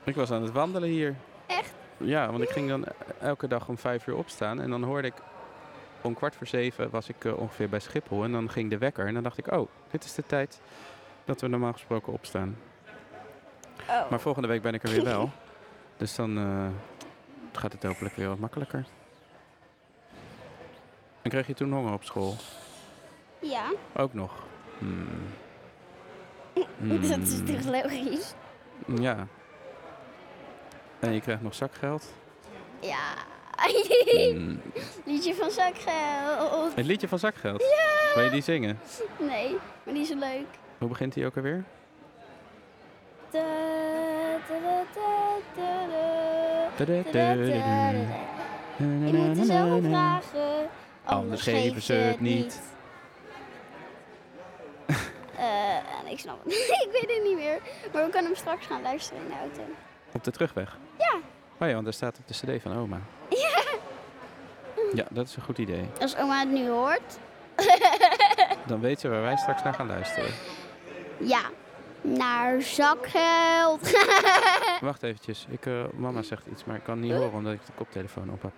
A: Ik was aan het wandelen hier.
B: Echt?
A: Ja, want ik ging dan elke dag om vijf uur opstaan en dan hoorde ik om kwart voor zeven was ik eh, ongeveer bij Schiphol en dan ging de wekker en dan dacht ik, oh, dit is de tijd dat we normaal gesproken opstaan.
B: Oh.
A: Maar volgende week ben ik er weer
B: *laughs*
A: wel. Dus dan eh, gaat het hopelijk weer wat makkelijker. En kreeg je toen honger op school?
B: Ja,
A: Ook nog. Hmm.
B: *laughs* dat is
A: Hmm.
B: toch logisch?
A: Ja. En je krijgt nog zakgeld.
B: Ja. *laughs* Mm.
A: Hmm.
B: Liedje van zakgeld.
A: Het liedje van zakgeld.
B: Ja.
A: Wil je die zingen?
B: Nee, maar die is zo leuk.
A: Hoe begint die ook alweer?
B: Da, da, da, da, da, da. Da, da, da, da, da. Je moet er zelf om vragen, anders geven ze het *laughs* niet. Eh, en ik snap het. *laughs* ik weet het niet meer. Maar we kunnen hem straks gaan luisteren in de auto.
A: Op de terugweg?
B: Ja.
A: Oh ja, want daar staat op de cd van oma. Ja. Ja, dat is een goed idee.
B: Als oma het nu hoort.
A: Dan weet ze waar wij straks naar gaan
B: *laughs*
A: luisteren.
B: Ja. Naar zakgeld. *laughs*
A: Wacht eventjes. Ik, eh, mama zegt iets, maar ik kan niet horen omdat ik de koptelefoon op heb.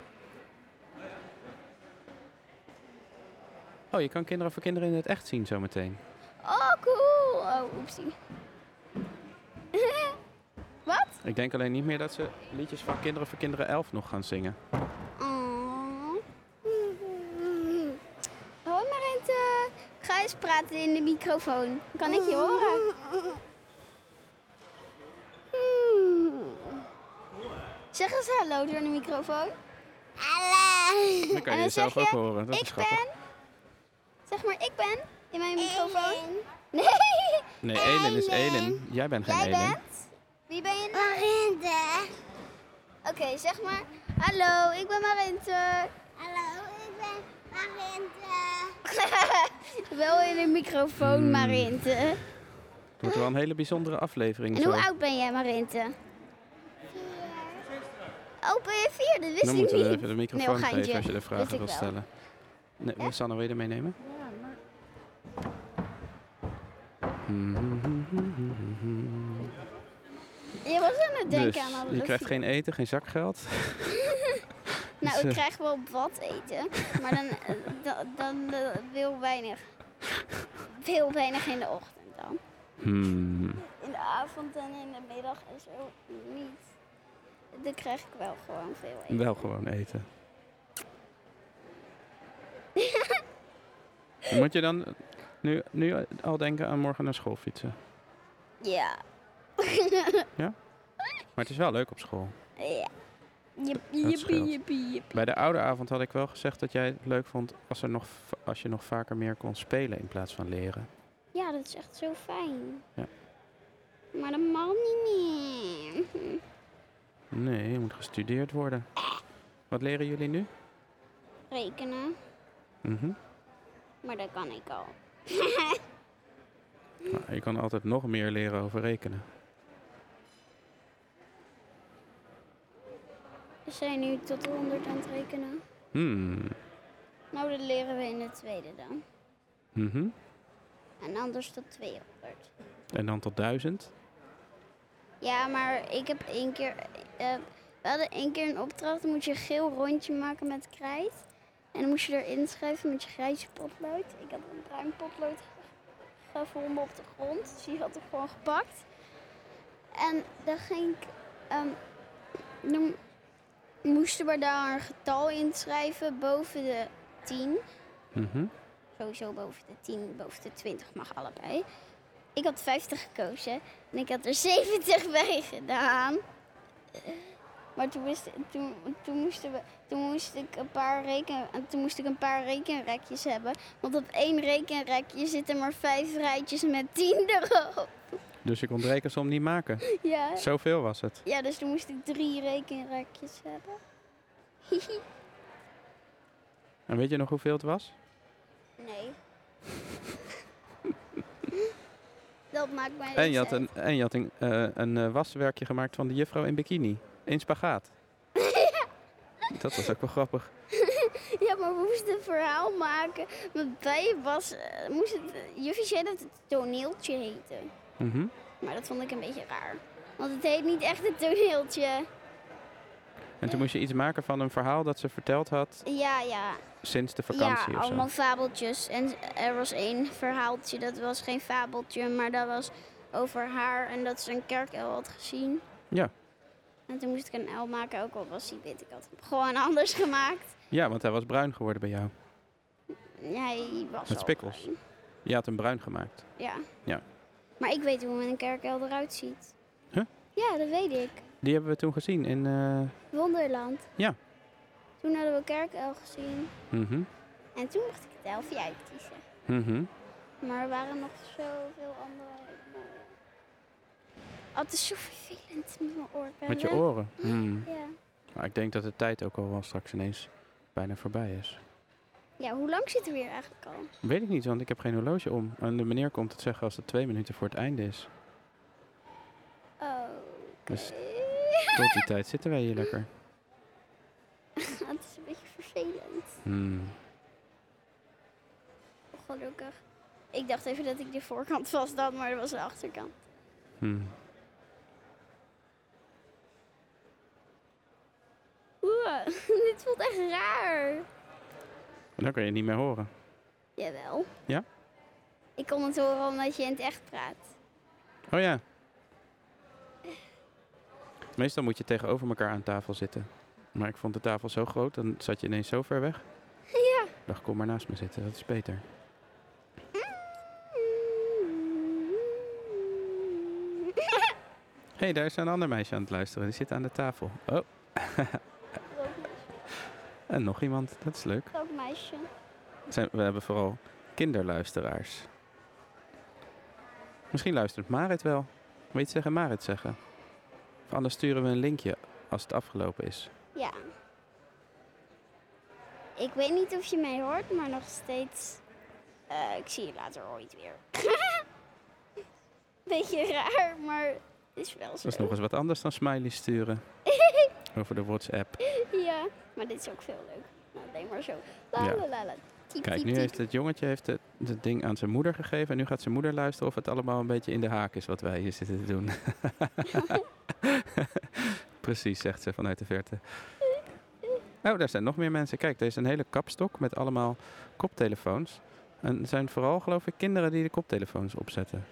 A: Oh, je kan kinderen voor kinderen in het echt zien zometeen.
B: Oh, cool. Oh, oepsie. *laughs* Wat?
A: Ik denk alleen niet meer dat ze liedjes van Kinderen voor Kinderen 11 nog gaan
B: *laughs*
A: zingen.
B: Oh. Hoi Marente. Ga eens praten in de microfoon. Kan ik je horen? Zeg eens hallo door de microfoon. Hallo.
A: Dan kan je jezelf ook horen. Dat is
B: ik
A: grappig.
B: ben. Zeg maar, ik ben in mijn microfoon. Nee.
A: Nee, Elin is Elin. Jij bent geen
B: Jij
A: Elin.
B: bent? Wie ben je nou? Marente. Oké, zeg maar. Hallo, ik ben Marente. Hallo, ik ben Marente. *laughs* Wel in een microfoon,
A: Hmm.
B: Marente.
A: Het wordt wel een hele bijzondere aflevering
B: En
A: zo.
B: hoe oud ben jij, Marente? Oh, ben je vier? Dat wist
A: Dan
B: ik
A: moeten
B: niet. oh,
A: we even de microfoon
B: geintje.
A: geven als je de
B: Wist
A: vragen
B: ik
A: wilt
B: wel.
A: stellen. Nee, wil Sanne, wil je er meenemen?
B: Je was aan het denken
A: Dus,
B: aan alle
A: je krijgt
B: vier.
A: geen eten, geen zakgeld.
B: Nou,
A: dus, *laughs*
B: ik
A: eh,
B: krijg wel wat eten, maar dan, eh, da- dan eh, heel
A: *laughs*
B: weinig. Heel weinig in de ochtend dan.
A: Hmm.
B: In de avond en in de middag en zo niet. Dan krijg ik wel gewoon veel eten.
A: Wel gewoon
B: *laughs*
A: eten. Moet je dan nu, nu al denken aan morgen naar school fietsen?
B: Ja.
A: Maar het is wel leuk op school.
B: ja. Jip,
A: scheelt.
B: jippie, jippie, jippie.
A: Bij de oude avond had ik wel gezegd dat jij het leuk vond als, er nog, v- als je nog vaker meer kon spelen in plaats van leren.
B: Ja, dat is echt zo fijn.
A: Ja.
B: Maar dat mag niet meer. *laughs*
A: Nee, je moet gestudeerd worden. Wat leren jullie nu?
B: Rekenen,
A: Mhm.
B: maar dat kan ik al.
A: Nou, je kan altijd nog meer leren over rekenen.
B: We zijn nu tot 100 aan het rekenen.
A: Hmm.
B: Nou, dat leren we in de tweede dan.
A: Mhm.
B: En anders tot 200.
A: En dan tot duizend.
B: Ja, maar ik heb één keer. eh, we hadden één keer een opdracht. Dan moet je een geel rondje maken met krijt. En dan moest je erin schrijven met je grijze potlood. Ik had een bruin potlood gevonden op de grond. Dus die had ik gewoon gepakt. En dan ging ik. ehm, dan moesten we daar een getal in schrijven boven de 10
A: Mhm.
B: sowieso boven de 10, boven de 20 mag allebei. Ik had 50 gekozen en ik had er 70 *laughs* bij gedaan. Maar toen, wist, toen, toen, moesten we, toen, moest ik een paar reken, en toen moest ik een paar rekenrekjes hebben. Want op één rekenrekje zitten maar vijf rijtjes met 10 erop. *laughs*
A: Dus ik kon de rekensom niet maken.
B: Ja.
A: Zoveel was het.
B: ja, dus toen moest ik drie rekenrekjes hebben.
A: En weet je nog hoeveel het was?
B: Nee. Dat maakt mij
A: En je
B: niks
A: had een, en je had een, eh, een eh, waswerkje gemaakt van de juffrouw in bikini. In spagaat. Dat was ook wel grappig.
B: Ja, maar we moesten een verhaal maken. Met was eh, moest het, Juffie zei dat het toneeltje heette.
A: Mhm.
B: Maar dat vond ik een beetje raar. Want het heet niet echt het toneeltje.
A: En toen moest je iets maken van een verhaal dat ze verteld had
B: Ja, ja.
A: sinds de vakantie
B: ja,
A: of zo.
B: allemaal fabeltjes. En er was één verhaaltje, dat was geen fabeltje, maar dat was over haar en dat ze een kerkel had gezien.
A: Ja.
B: En toen moest ik een L maken, ook al was die wit. Ik had hem gewoon *laughs* anders gemaakt.
A: Ja, want hij was bruin geworden bij jou.
B: Hij was
A: Met
B: al
A: spikkels.
B: bruin.
A: Je had hem bruin gemaakt.
B: Ja.
A: Ja.
B: Maar ik weet hoe een kerkel eruit ziet.
A: Huh?
B: Ja, dat weet ik.
A: Die hebben we toen gezien in... eh,
B: Wonderland.
A: Ja.
B: Toen hadden we kerkel gezien.
A: mhm,
B: En toen mocht ik het elfje uitkiezen.
A: mhm.
B: Maar er waren nog zoveel andere... mooie. Oh, het is zo vervelend met mijn oorbellen.
A: Met je oren. Hmm.
B: Ja.
A: Maar ik denk dat de tijd ook al wel straks ineens bijna voorbij is.
B: Ja, hoe lang zitten we hier eigenlijk al?
A: Weet ik niet, want ik heb geen horloge om. En de meneer komt het zeggen als het twee minuten voor het einde is.
B: Oh.
A: Dus tot die tijd zitten wij hier lekker.
B: *laughs* het is een beetje vervelend. Oh,
A: Hmm.
B: Gelukkig. Ik dacht even dat ik de voorkant vast had, maar dat was de achterkant.
A: Hmm.
B: Oeh, *laughs* dit voelt echt raar.
A: En dan kan je het niet meer horen.
B: Jawel.
A: Ja?
B: Ik kon het horen omdat je in het echt praat. *laughs*
A: Oh ja. Meestal moet je tegenover elkaar aan tafel zitten. Maar ik vond de tafel zo groot, dan zat je ineens zo ver weg.
B: Ja. *laughs*
A: Ik dacht, kom maar naast me zitten, dat is beter. Hé, hey, daar is een ander meisje aan het luisteren. Die zit aan de tafel. Oh, *laughs* en nog iemand. Dat is leuk.
B: Ook meisje.
A: Zijn, we hebben vooral kinderluisteraars. Misschien luistert Marit wel. Wil je iets tegen Marit zeggen? Of anders sturen we een linkje als het afgelopen is.
B: Ja. Ik weet niet of je mij hoort, maar nog steeds. eh, ik zie je later ooit weer. *laughs* Beetje raar, maar het is wel zo.
A: Dat is nog eens wat anders dan smileys sturen. Over de WhatsApp.
B: Ja, maar dit is ook veel leuk. Nou, alleen maar zo. La
A: Ja.
B: la la la. Typ,
A: Kijk,
B: typ,
A: nu
B: typ.
A: heeft het jongetje heeft het, het ding aan zijn moeder gegeven. En nu gaat zijn moeder luisteren of het allemaal een beetje in de haak is wat wij hier zitten te doen. *laughs* Precies, zegt ze vanuit de verte. Oh, daar zijn nog meer mensen. Kijk, er is een hele kapstok met allemaal koptelefoons. En het zijn vooral, geloof ik, kinderen die de koptelefoons opzetten.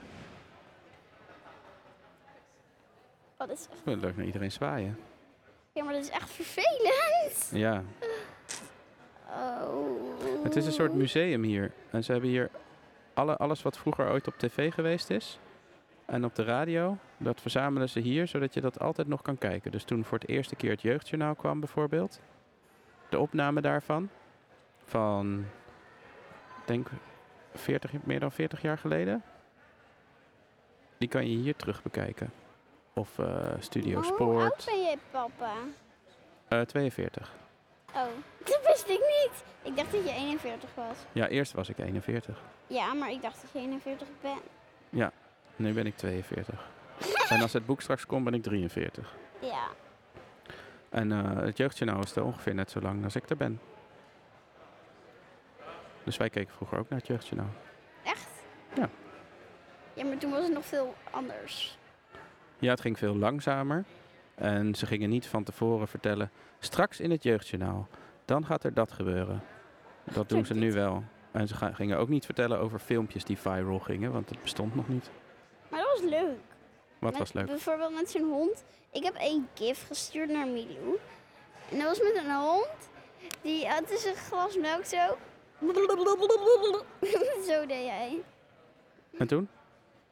B: Oh, dat is echt...
A: Ik wil leuk naar iedereen zwaaien.
B: Ja, maar dat is echt vervelend.
A: Ja,
B: Oh.
A: het is een soort museum hier. En ze hebben hier alle, alles wat vroeger ooit op tv geweest is. En op de radio, dat verzamelen ze hier, zodat je dat altijd nog kan kijken. Dus toen voor het eerste keer het Jeugdjournaal kwam bijvoorbeeld, de opname daarvan, van, ik denk 40, meer dan 40 jaar geleden, die kan je hier terug bekijken. Of eh, Studio
B: Maar Hoe Oh, oud
A: Sport,
B: ben je, papa?
A: eh 42.
B: Oh, *laughs* dat wist ik niet. Ik dacht dat je 41 was.
A: Ja, eerst was ik 41.
B: Ja, maar ik dacht dat je 41 bent.
A: Nu ben ik 42. en als het boek straks komt, ben ik 43.
B: Ja.
A: En eh, het jeugdjournaal is er ongeveer net zo lang als ik er ben. Dus wij keken vroeger ook naar het jeugdjournaal.
B: Echt?
A: Ja.
B: Ja, maar toen was het nog veel anders.
A: Ja, het ging veel langzamer. En ze gingen niet van tevoren vertellen, straks in het jeugdjournaal, dan gaat er dat gebeuren. Dat doen ze nu wel. En ze ga- gingen ook niet vertellen over filmpjes die viral gingen, want het bestond nog niet.
B: Maar dat was leuk.
A: Wat
B: Met-
A: was leuk.
B: Bijvoorbeeld met zo'n hond. Ik heb één gif gestuurd naar Milou. En dat was met een hond. Die had dus een glas melk zo. *laughs* zo deed hij.
A: En toen?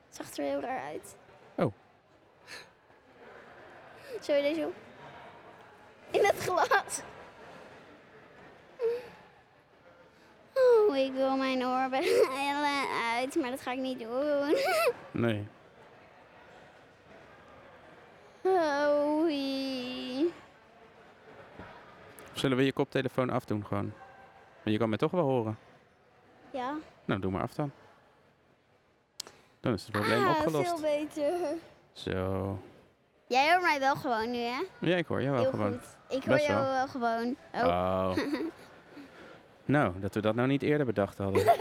B: Het zag er heel raar uit.
A: Oh.
B: Zo deed hij zo. In het glas. Oh, ik wil mijn oorbellen uit, maar dat ga ik niet doen.
A: Nee.
B: Oh, ie.
A: Zullen we je koptelefoon afdoen gewoon? Maar je kan me toch wel horen.
B: Ja.
A: Nou, doe maar af dan. Dan is het probleem
B: ah,
A: opgelost.
B: veel beter.
A: Zo.
B: Jij hoort mij wel gewoon nu, hè?
A: Ja, ik hoor jou wel
B: Heel
A: gewoon.
B: goed. Ik hoor
A: Best
B: jou
A: wel.
B: wel gewoon. Oh.
A: Oh.
B: *laughs*
A: nou, dat we dat nou niet eerder bedacht hadden.
B: *laughs*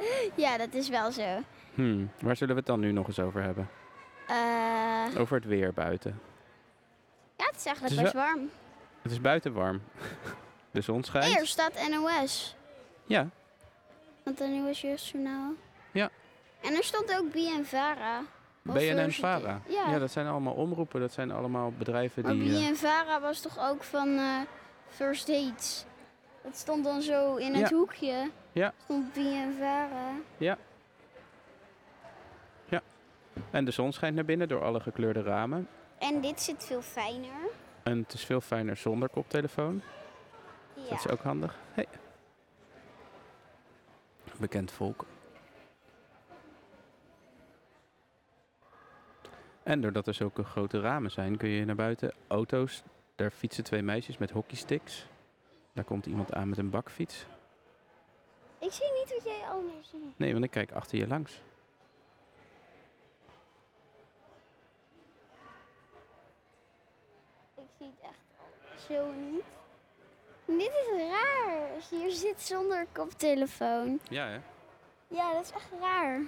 B: Oh, Ja, dat is wel zo.
A: Hmm, waar zullen we het dan nu nog eens over hebben?
B: Eh,
A: Over het weer buiten.
B: ja, het is
A: Het is
B: eigenlijk
A: wel-
B: best warm.
A: Het is buiten warm. *laughs* De zon schijnt.
B: Eerst staat NOS.
A: Ja,
B: Want dan was je journaal.
A: Ja.
B: En er stond ook BNVARA.
A: BNN
B: Of hoe ze het-
A: Vara.
B: Ja.
A: dat zijn allemaal omroepen. Dat zijn allemaal bedrijven
B: Maar
A: die... eh,
B: BNVARA was toch ook van eh, First Dates? Dat stond dan zo in het
A: Ja.
B: hoekje.
A: Ja.
B: Stond BNVARA. eh?
A: en de zon schijnt naar binnen door alle gekleurde ramen.
B: En dit zit veel fijner.
A: En het is veel fijner zonder koptelefoon.
B: Ja.
A: Dat is ook handig. Hey. Bekend volk. En doordat er zulke grote ramen zijn, kun je naar buiten auto's. Daar fietsen twee meisjes met hockeysticks. Daar komt iemand aan met een bakfiets.
B: Ik zie niet wat jij anders ziet.
A: Nee, want ik kijk achter je langs.
B: Ik zie het echt zo niet. Dit is raar. als je Hier zit zonder koptelefoon.
A: Ja, hè?
B: Ja, dat is echt raar.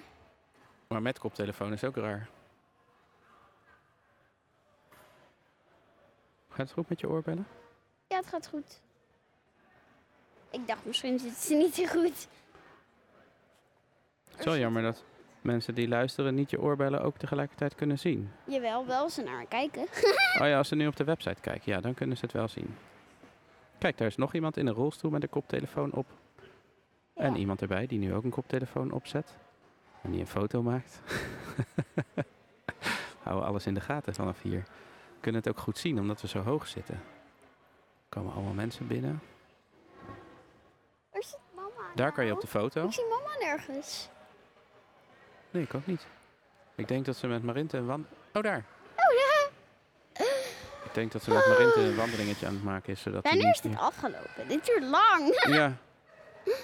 A: Maar met koptelefoon is ook raar. Gaat het goed met je oorbellen?
B: Ja, het gaat goed. Ik dacht misschien zit ze niet zo goed.
A: Het is wel jammer dat mensen die luisteren niet je oorbellen ook tegelijkertijd kunnen zien.
B: Jawel, wel ze naar me kijken.
A: Oh ja, als ze nu op de website kijken, ja, dan kunnen ze het wel zien. Kijk, daar is nog iemand in een rolstoel met een koptelefoon op. En
B: Ja.
A: iemand erbij die nu ook een koptelefoon opzet. En die een foto maakt. *laughs* Houden alles in de gaten vanaf hier. Kunnen het ook goed zien omdat we zo hoog zitten. Er komen allemaal mensen binnen.
B: Er zit mama. nou?
A: Daar kan je op de foto.
B: Ik zie mama nergens.
A: Nee, ik ook niet. Ik denk dat ze met Marinte een wand... Oh, daar.
B: Oh ja.
A: Ik denk dat ze met Marinte een wandelingetje aan het maken is. Zodat die
B: Wanneer
A: niet
B: is dit
A: meer-
B: afgelopen? Dit duurt lang.
A: Ja.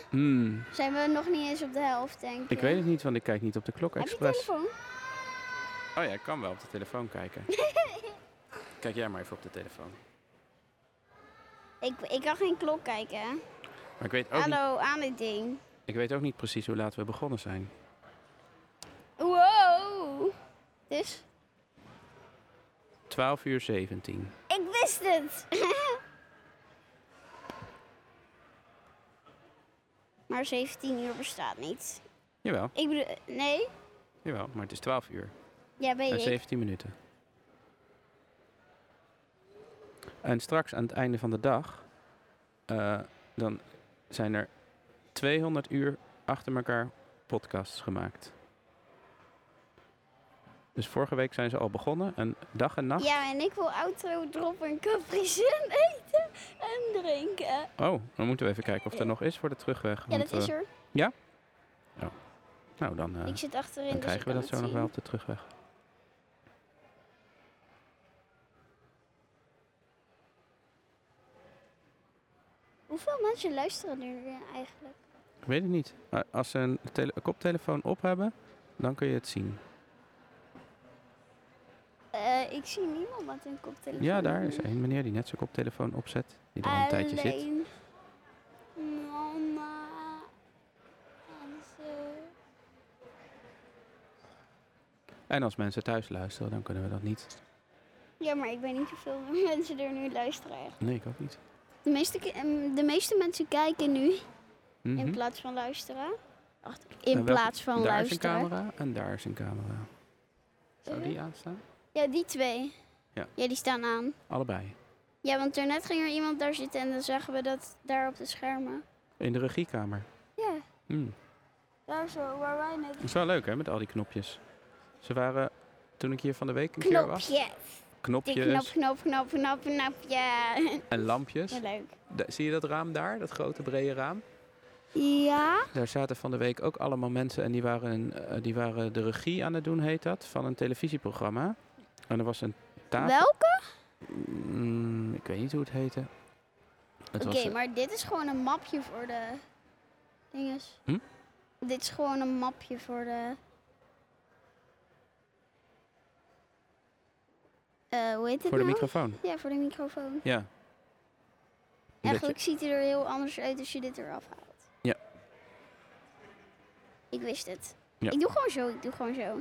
A: Hmm.
B: Zijn we nog niet eens op de helft, denk ik.
A: Ik weet het niet, want ik kijk niet op de klok
B: Heb je
A: expres.
B: telefoon?
A: Oh ja, ik kan wel op de telefoon
B: *laughs*
A: kijken. kijk jij maar even op de telefoon.
B: Ik, ik kan geen klok
A: Oh,
B: kijken.
A: Maar ik weet, ook niet,
B: Hallo, aan dit ding.
A: ik weet ook niet precies hoe laat we begonnen zijn.
B: Wow. Dus?
A: 12 uur 17.
B: Ik wist het. *laughs* maar 17 uur bestaat niet.
A: Jawel,
B: Ik bedoel, nee?
A: jawel, maar het is 12 uur
B: Ja, weet
A: en
B: ik.
A: 17 minuten. En straks aan het einde van de dag, eh, dan zijn er 200 uur achter elkaar podcasts gemaakt. Dus vorige week zijn ze al begonnen. Een dag en nacht.
B: Ja, en ik wil outro, drop en Capri Sun *laughs* eten en drinken.
A: Oh, dan moeten we even kijken of er nog is voor de terugweg.
B: Ja,
A: want,
B: dat is
A: eh,
B: er.
A: nou, dan, eh,
B: Ik zit achterin.
A: dan
B: dus ik
A: krijgen we
B: kan
A: dat
B: het
A: zo nog
B: zien.
A: wel op de terugweg.
B: Hoeveel mensen luisteren er nu eigenlijk?
A: Ik weet het niet. Eh, Als ze een, tele- een koptelefoon op hebben, dan kun je het zien.
B: Eh, ik zie niemand met een koptelefoon.
A: Ja, daar is één meneer die net zijn koptelefoon opzet. Die er al
B: Eh,
A: een tijdje zit.
B: Alleen Mama en ze.
A: En als mensen thuis luisteren, dan kunnen we dat niet.
B: Ja, maar ik weet niet hoeveel *laughs* mensen er nu luisteren. eigenlijk.
A: Nee, ik ook niet.
B: De meeste, ki- ehm, de meeste mensen kijken nu
A: Mhm.
B: in plaats van luisteren. Wacht,
A: En
B: in
A: welke-
B: plaats van
A: daar
B: luisteren.
A: is een camera en daar is een camera. Zou die aanstaan?
B: Ja, die twee.
A: Ja.
B: die staan aan.
A: Allebei.
B: Ja, want daarnet ging er iemand daar zitten en dan zagen we dat daar op de schermen.
A: In de regiekamer.
B: Ja,
A: Hmm.
B: daar zo, waar wij net.
A: Dat is wel leuk hè, met al die knopjes. Ze waren, toen ik hier van de week een keer was,
B: Knopje. Die
A: knopjes
B: knop, knop, knop, knop, knop. Ja, *laughs*
A: en lampjes.
B: Ja, leuk.
A: Da- zie je dat raam daar, dat grote brede raam?
B: Ja.
A: Daar zaten van de week ook allemaal mensen en die waren, een, eh, die waren de regie aan het doen, heet dat, van een televisieprogramma. En er was een tafel.
B: Welke?
A: Mm, ik weet niet hoe het heette. Het
B: Oké,
A: was, eh,
B: maar dit is gewoon een mapje voor de dinges.
A: Hm?
B: Dit is gewoon een mapje voor de. Eh, hoe heet het
A: voor de
B: nou?
A: microfoon.
B: Ja, voor de microfoon.
A: Ja. Dat je-
B: Eigenlijk ziet hij er heel anders uit als je dit eraf haalt.
A: Ja.
B: Ik wist het.
A: Ja.
B: Ik doe gewoon zo, ik doe gewoon zo.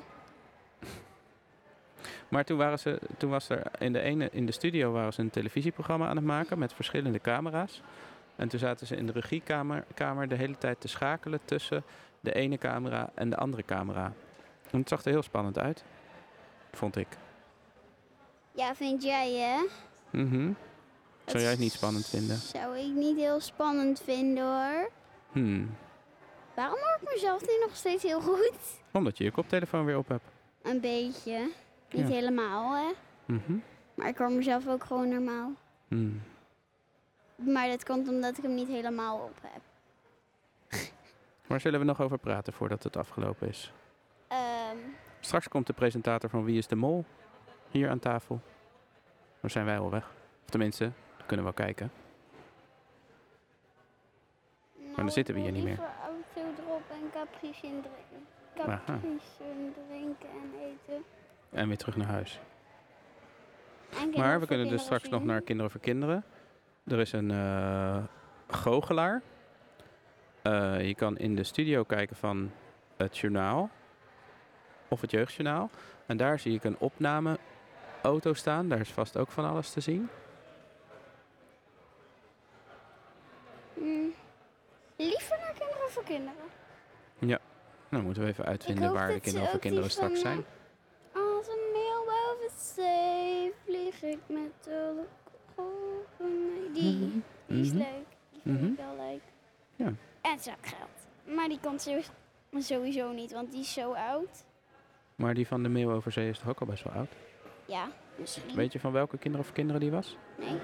A: Maar toen, waren ze, toen was er in de, ene, in de studio waren ze een televisieprogramma aan het maken met verschillende camera's. En toen zaten ze in de regiekamer kamer de hele tijd te schakelen tussen de ene camera en de andere camera. En het zag er heel spannend uit, vond ik.
B: Ja, vind jij hè?
A: Mhm. Zou
B: Dat
A: jij het niet spannend vinden?
B: Zou ik niet heel spannend vinden hoor.
A: Hmm.
B: Waarom hoor ik mezelf nu nog steeds heel goed?
A: Omdat je je koptelefoon weer op hebt.
B: Een beetje. Niet
A: Ja.
B: helemaal hè.
A: Mhm.
B: Maar ik hoor mezelf ook gewoon normaal.
A: Hmm.
B: Maar dat komt omdat ik hem niet helemaal op heb.
A: Waar zullen we nog over praten voordat het afgelopen is?
B: Ehm,
A: Straks komt de presentator van Wie is de Mol hier aan tafel. Dan zijn wij al weg. Of tenminste, kunnen we wel kijken.
B: nou,
A: dan zitten we
B: ik
A: hier
B: wil
A: niet
B: liever Autodrop en Capri Sun drinken.
A: Aha.
B: Capri Sun drinken en eten.
A: En weer terug naar huis.
B: En kinderen
A: Maar we
B: voor
A: kunnen dus
B: kinderen
A: straks nog
B: zien.
A: naar Kinderen voor Kinderen. Er is een eh, goochelaar. Eh, je kan in de studio kijken van het journaal. Of het jeugdjournaal. En daar zie ik een opnameauto staan. Daar is vast ook van alles te zien.
B: Mm. Liever naar kinderen voor kinderen.
A: Nou, moeten we even
B: Ik
A: uitvinden
B: hoop
A: waar de
B: dat ze
A: Kinderen voor
B: ook die
A: Kinderen straks
B: van,
A: zijn.
B: Als een mail boven zee vlieg ik met de golven. Die, die is
A: Mhm.
B: leuk. Die vind
A: Mhm.
B: ik wel leuk.
A: Ja.
B: En zakgeld. Maar die komt zo- sowieso niet, want die is zo oud.
A: Maar die van de Meeuw over Zee is toch ook al best wel oud?
B: Mhm. Ja, misschien.
A: Weet je van welke Kinderen voor Kinderen die was?
B: Nee.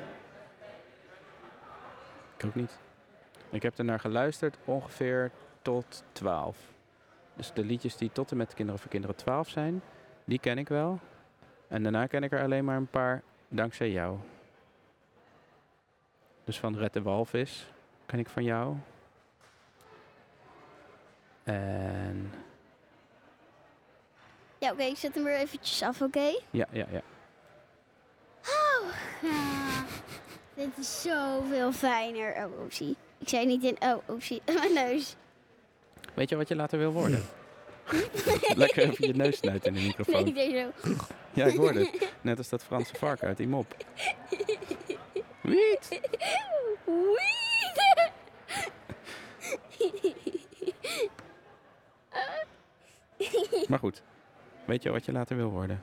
A: Ik ook niet. Ik heb ernaar geluisterd ongeveer tot 12. Dus de liedjes die tot en met Kinderen voor Kinderen 12 zijn, die ken ik wel. En daarna ken ik er alleen maar een paar dankzij jou. Dus van Red de Walvis ken ik van jou. En
B: Ja, oké, ik zet hem weer eventjes af, oké?
A: ja, ja, ja.
B: Oh, ah, dit is zoveel fijner. Oh, oepsie. Ik zei niet in, oh, oepsie, *laughs* mijn neus.
A: Weet je wat je later wil worden? *laughs* Lekker even je neus snuiten in de microfoon.
B: Nee, ik deed zo.
A: Ja, ik hoorde het. Net als dat Franse varken uit die mop. Wiet!
B: Wee!
A: Maar goed, weet je wat je later wil worden?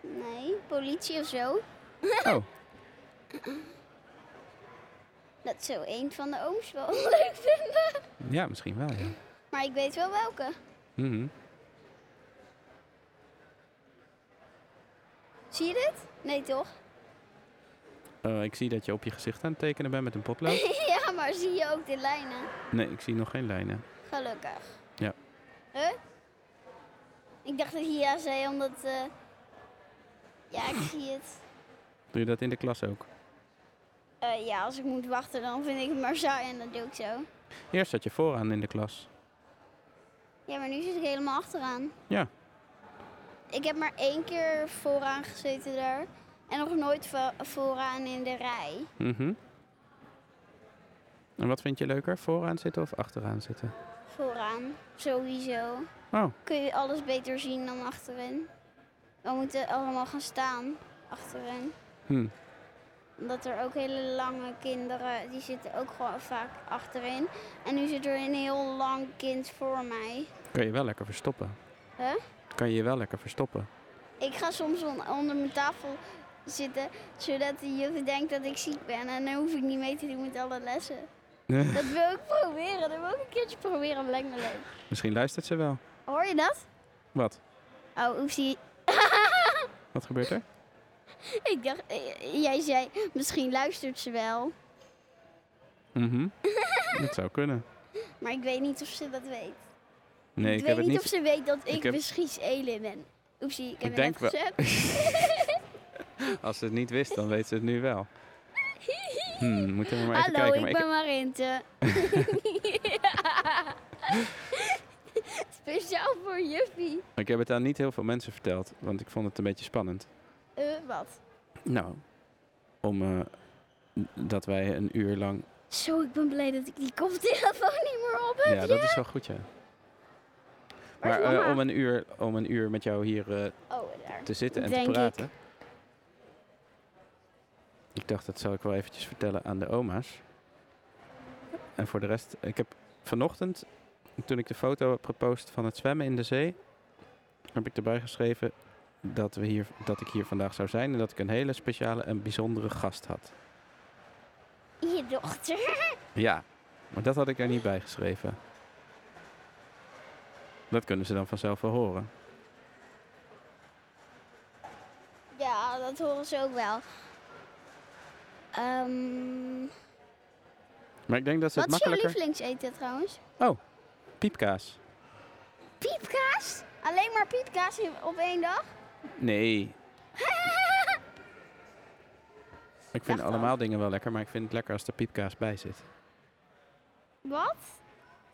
B: Nee, politie of zo.
A: Oh,
B: Dat zou een van de ooms wel *laughs* leuk vinden.
A: ja, misschien wel, ja.
B: Maar ik weet wel welke.
A: Mhm.
B: Zie je dit? Nee, toch? *laughs*
A: Eh, ik zie dat je op je gezicht aan het tekenen bent met een potlood.
B: *laughs* ja, maar zie je ook de lijnen?
A: Nee, ik zie nog geen lijnen.
B: Gelukkig.
A: Ja.
B: Huh? Ik dacht dat je ja zei, omdat... eh, Ja, ik zie het.
A: Doe je dat in de klas ook?
B: Eh, ja, als ik moet wachten, dan vind ik het maar saai en dat doe ik zo.
A: Eerst zat je vooraan in de klas.
B: Ja, maar nu zit ik helemaal achteraan.
A: Ja.
B: Ik heb maar één keer vooraan gezeten daar. En nog nooit vo- vooraan in de rij.
A: Mhm. En wat vind je leuker? Vooraan zitten of achteraan zitten?
B: Vooraan, sowieso.
A: Oh,
B: Kun je alles beter zien dan achterin. We moeten allemaal gaan staan achterin.
A: hm.
B: Omdat er ook hele lange kinderen, die zitten ook gewoon vaak achterin. En nu zit er een heel lang kind voor mij.
A: kan je wel lekker verstoppen.
B: Huh?
A: Kan je je wel lekker verstoppen.
B: Ik ga soms on- onder mijn tafel zitten, zodat de juf denkt dat ik ziek ben. En dan hoef ik niet mee te doen met alle lessen. Dat wil ik proberen. Dat wil ik een keertje proberen. Dat lijkt me leuk.
A: Misschien luistert ze wel.
B: Hoor je dat?
A: Wat?
B: Oh, oepsie.
A: Wat gebeurt er?
B: Ik dacht, eh, jij zei, misschien luistert ze wel.
A: Mhm. dat zou kunnen.
B: Maar ik weet niet of ze dat weet.
A: Nee, ik,
B: ik
A: heb het
B: weet niet,
A: niet.
B: of ze weet dat ik,
A: ik heb-
B: misschien Elin ben. Oepsie, ik heb
A: Ik
B: het
A: denk
B: net
A: wel.
B: gezegd.
A: *laughs*
B: *laughs*
A: Als ze het niet wist, dan weet ze het nu wel. Hmm, moeten we maar even
B: Hallo,
A: kijken.
B: ik
A: Maar ik-
B: ben
A: *laughs*
B: Marinte. *laughs* Speciaal voor Juffie.
A: ik heb het aan niet heel veel mensen verteld, want ik vond het een beetje spannend.
B: Eh, wat?
A: Nou, om eh, n- dat wij een uur lang.
B: Zo, ik ben blij dat ik die koptelefoon niet meer op heb.
A: Ja, dat is wel goed, ja. Maar
B: Waar is
A: eh,
B: mama?
A: om, een uur, om een uur met jou hier eh,
B: Oh, daar.
A: te zitten en
B: Denk
A: te
B: ik.
A: praten. Ik. dacht, dat zal ik wel eventjes vertellen aan de oma's. En voor de rest, ik heb vanochtend, toen ik de foto heb gepost van het zwemmen in de zee, heb ik erbij geschreven dat, we hier, dat ik hier vandaag zou zijn en dat ik een hele speciale en bijzondere gast had.
B: Je dochter.
A: Ja, maar dat had ik er niet bij geschreven. Dat kunnen ze dan vanzelf wel horen.
B: Ja, dat horen ze ook wel. Ehm,
A: Maar ik denk dat ze
B: wat
A: het
B: is jouw
A: makkelijker...
B: lievelingseten trouwens?
A: Piepkaas.
B: Piepkaas? Alleen maar piepkaas in- op één dag? *laughs*
A: Nee. ik vind
B: Dacht al.
A: allemaal dingen wel lekker, maar ik vind het lekker als er piepkaas bij zit.
B: Wat?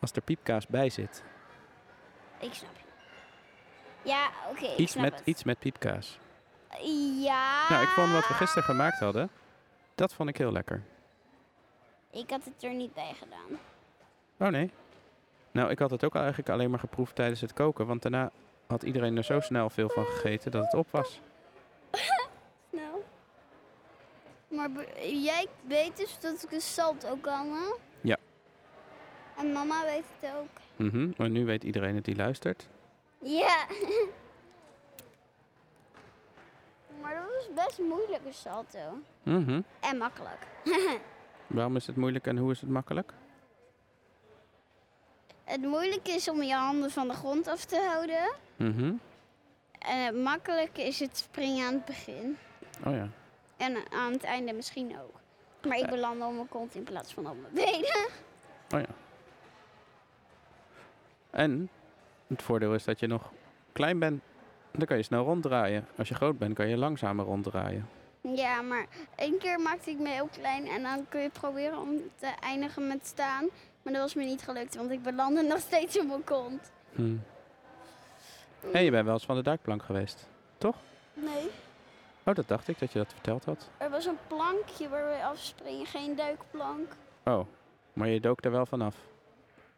A: Als er piepkaas bij zit.
B: Ik snap je. Ja, oké. ik
A: Iets
B: snap
A: met,
B: het.
A: iets met piepkaas.
B: Ja.
A: Nou, ik vond wat we
B: Ah.
A: gisteren gemaakt hadden, dat vond ik heel lekker.
B: Ik had het er niet bij gedaan.
A: Oh nee. Nou, ik had het ook eigenlijk alleen maar geproefd tijdens het koken, want daarna had iedereen er zo snel veel van gegeten dat het op was.
B: Nou. Maar be- jij weet dus dat ik een salt ook kan, hè?
A: Ja.
B: En mama weet het ook.
A: Mhm, Maar nu weet iedereen het die luistert.
B: Ja. *laughs* maar dat was best moeilijk, een salto.
A: Mhm.
B: En makkelijk. *laughs*
A: Waarom is het moeilijk en hoe is het makkelijk?
B: Het moeilijke is om je handen van de grond af te houden.
A: Mhm.
B: En het makkelijke is het springen aan het begin.
A: Oh ja.
B: En aan het einde misschien ook. Maar ik belandde op mijn kont in plaats van op mijn benen.
A: Oh ja. En het voordeel is dat je nog klein bent. Dan kan je snel ronddraaien. Als je groot bent, kan je langzamer ronddraaien.
B: Ja, maar één keer maakte ik me heel klein en dan kun je proberen om te eindigen met staan. Maar dat was me niet gelukt, want ik belandde *laughs* nog steeds op mijn kont.
A: Hm. En je bent wel eens van de duikplank geweest.
B: Nee.
A: Oh, dat dacht ik dat je dat verteld had.
B: Er was een plankje waar we afspringen, geen duikplank.
A: Oh, maar je dook er wel vanaf.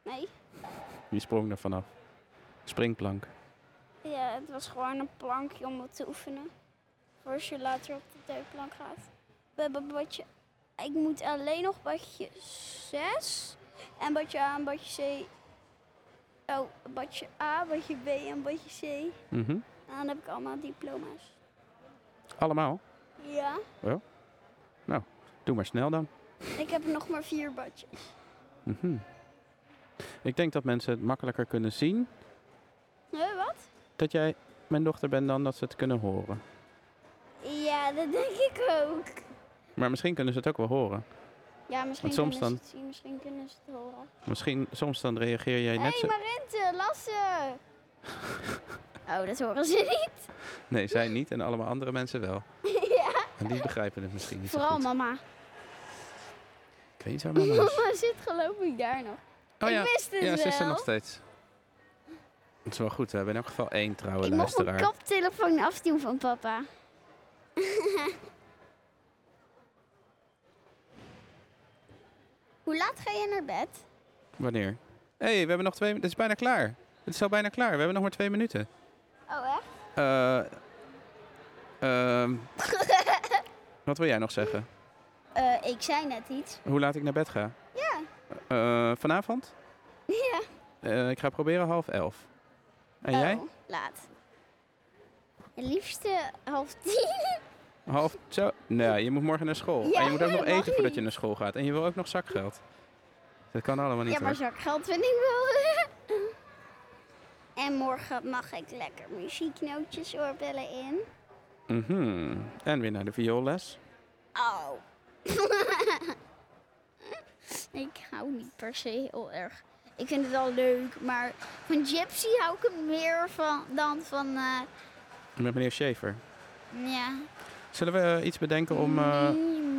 B: Nee.
A: Je sprong er vanaf. Springplank.
B: Ja, het was gewoon een plankje om wat te oefenen. Voor als je later op de duikplank gaat. We hebben badje. Ik moet alleen nog badje 6. En badje A en badje C. Oh, badje A, badje B en badje C.
A: Mhm.
B: En dan heb ik allemaal diploma's.
A: Allemaal.
B: Ja,
A: Doe maar snel dan.
B: ik heb nog maar vier badjes.
A: Mhm. Ik denk dat mensen het makkelijker kunnen zien
B: Huh, wat?
A: dat jij mijn dochter bent dan dat ze het kunnen horen.
B: dat denk ik ook.
A: Maar misschien kunnen ze het ook wel horen.
B: Ja, misschien
A: Want soms
B: kunnen
A: dan-
B: ze het zien, misschien kunnen ze het horen.
A: Misschien, soms dan reageer jij
B: Hé,
A: net zo...
B: hey, Marente,
A: *laughs*
B: Lasse! oh, dat horen ze niet.
A: Nee, zij niet en allemaal andere mensen
B: *laughs*
A: wel. En die begrijpen het misschien niet zo
B: Vooral
A: goed.
B: mama.
A: Ik weet niet waar *laughs* mama is.
B: *laughs* Mama zit geloof ik daar nog.
A: Oh ja,
B: Ik wist het dus
A: ja ze is er
B: wel.
A: nog steeds. Dat is wel goed. We hebben in elk geval één trouwe
B: Ik mocht mijn
A: luisteraar.
B: koptelefoon afdoen van papa. *laughs* Hoe laat ga je naar bed?
A: Wanneer? Hé, hey, we hebben nog twee... Het is bijna klaar. Het is al bijna klaar. We hebben nog maar twee minuten.
B: Oh, echt?
A: Eh,
B: *laughs*
A: ehm, wat wil jij nog zeggen?
B: Eh, ik zei net iets.
A: Hoe laat ik naar bed ga?
B: Ja.
A: Eh, vanavond?
B: *laughs* Ja.
A: Eh, ik ga proberen half elf. En jij?
B: Oh, laat. Het liefste half tien.
A: Half zo? Nee, je moet morgen naar school.
B: Ja,
A: en je moet ook nog
B: dat
A: eten
B: mag
A: voordat
B: niet.
A: je naar school gaat. En je wil ook nog zakgeld. Dat kan allemaal niet.
B: Ja, maar
A: hoor.
B: zakgeld vind ik wel. *laughs* en morgen mag ik lekker muzieknootjes oorbellen in.
A: Mhm. En weer naar de vioolles.
B: Oh. *laughs* ik hou niet per se heel erg. Ik vind het wel leuk, maar van Gypsy hou ik het meer van dan van. eh,
A: Met meneer Schaefer.
B: ja.
A: Zullen we eh, iets bedenken om, eh,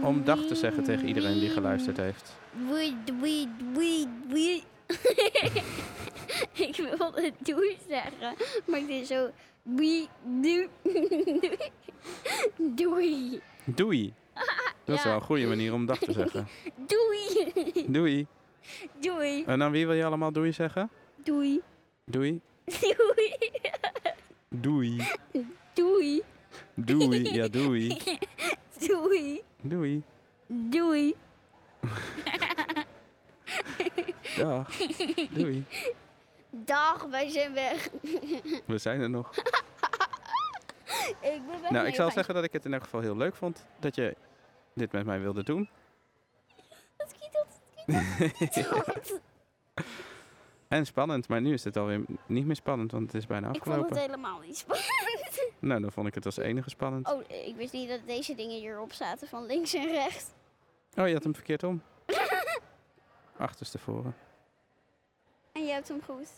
A: om dag te zeggen tegen iedereen die geluisterd heeft?
B: Weed, weed, weed, weed. *laughs* ik wilde doei zeggen, maar het is zo. Weed, doei. *laughs* doei. *laughs*
A: Doei. Dat is
B: Ja.
A: wel een goede manier om dag te
B: *laughs*
A: zeggen.
B: Doei.
A: Doei.
B: Doei.
A: En aan wie wil je allemaal doei zeggen?
B: Doei.
A: Doei.
B: Doei.
A: Doei.
B: *laughs* Doei.
A: Doei. Ja, doei.
B: *laughs* Doei.
A: Doei.
B: Doei. *laughs*
A: Dag. Doei.
B: Dag, wij zijn weg.
A: We zijn er nog.
B: Ik ben weg.
A: Nou, ik zal zeggen dat ik het in elk geval heel leuk vond dat je dit met mij wilde
B: *laughs*
A: doen.
B: Het kietelt, het
A: *laughs*
B: kietelt, het kietelt.
A: En spannend, maar nu is het alweer m- niet meer spannend, want het is bijna
B: Ik vond het
A: afgelopen.
B: helemaal niet spannend. *laughs*
A: Nou, dan vond ik het als enige spannend.
B: Oh, ik wist niet dat deze dingen hierop zaten van links en rechts.
A: Oh, je had hem verkeerd
B: *laughs*
A: om. Achterstevoren.
B: En je hebt hem goed.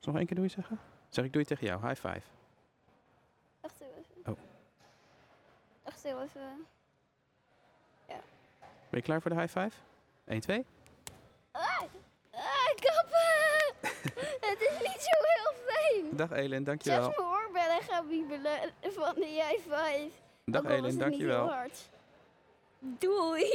A: Nog één keer doei zeggen? Zeg ik doei tegen jou. High five.
B: Wacht heel even.
A: Oh.
B: Wacht heel even.
A: Ben je klaar voor de high five? 1, 2.
B: Ah, ah kappen! *laughs* het is niet zo heel fijn.
A: Dag Elin, dankjewel.
B: Zelfs mijn oorbellen gaan wiebelen van de jij 5
A: Dag Elin, dankjewel.
B: Doei. *laughs*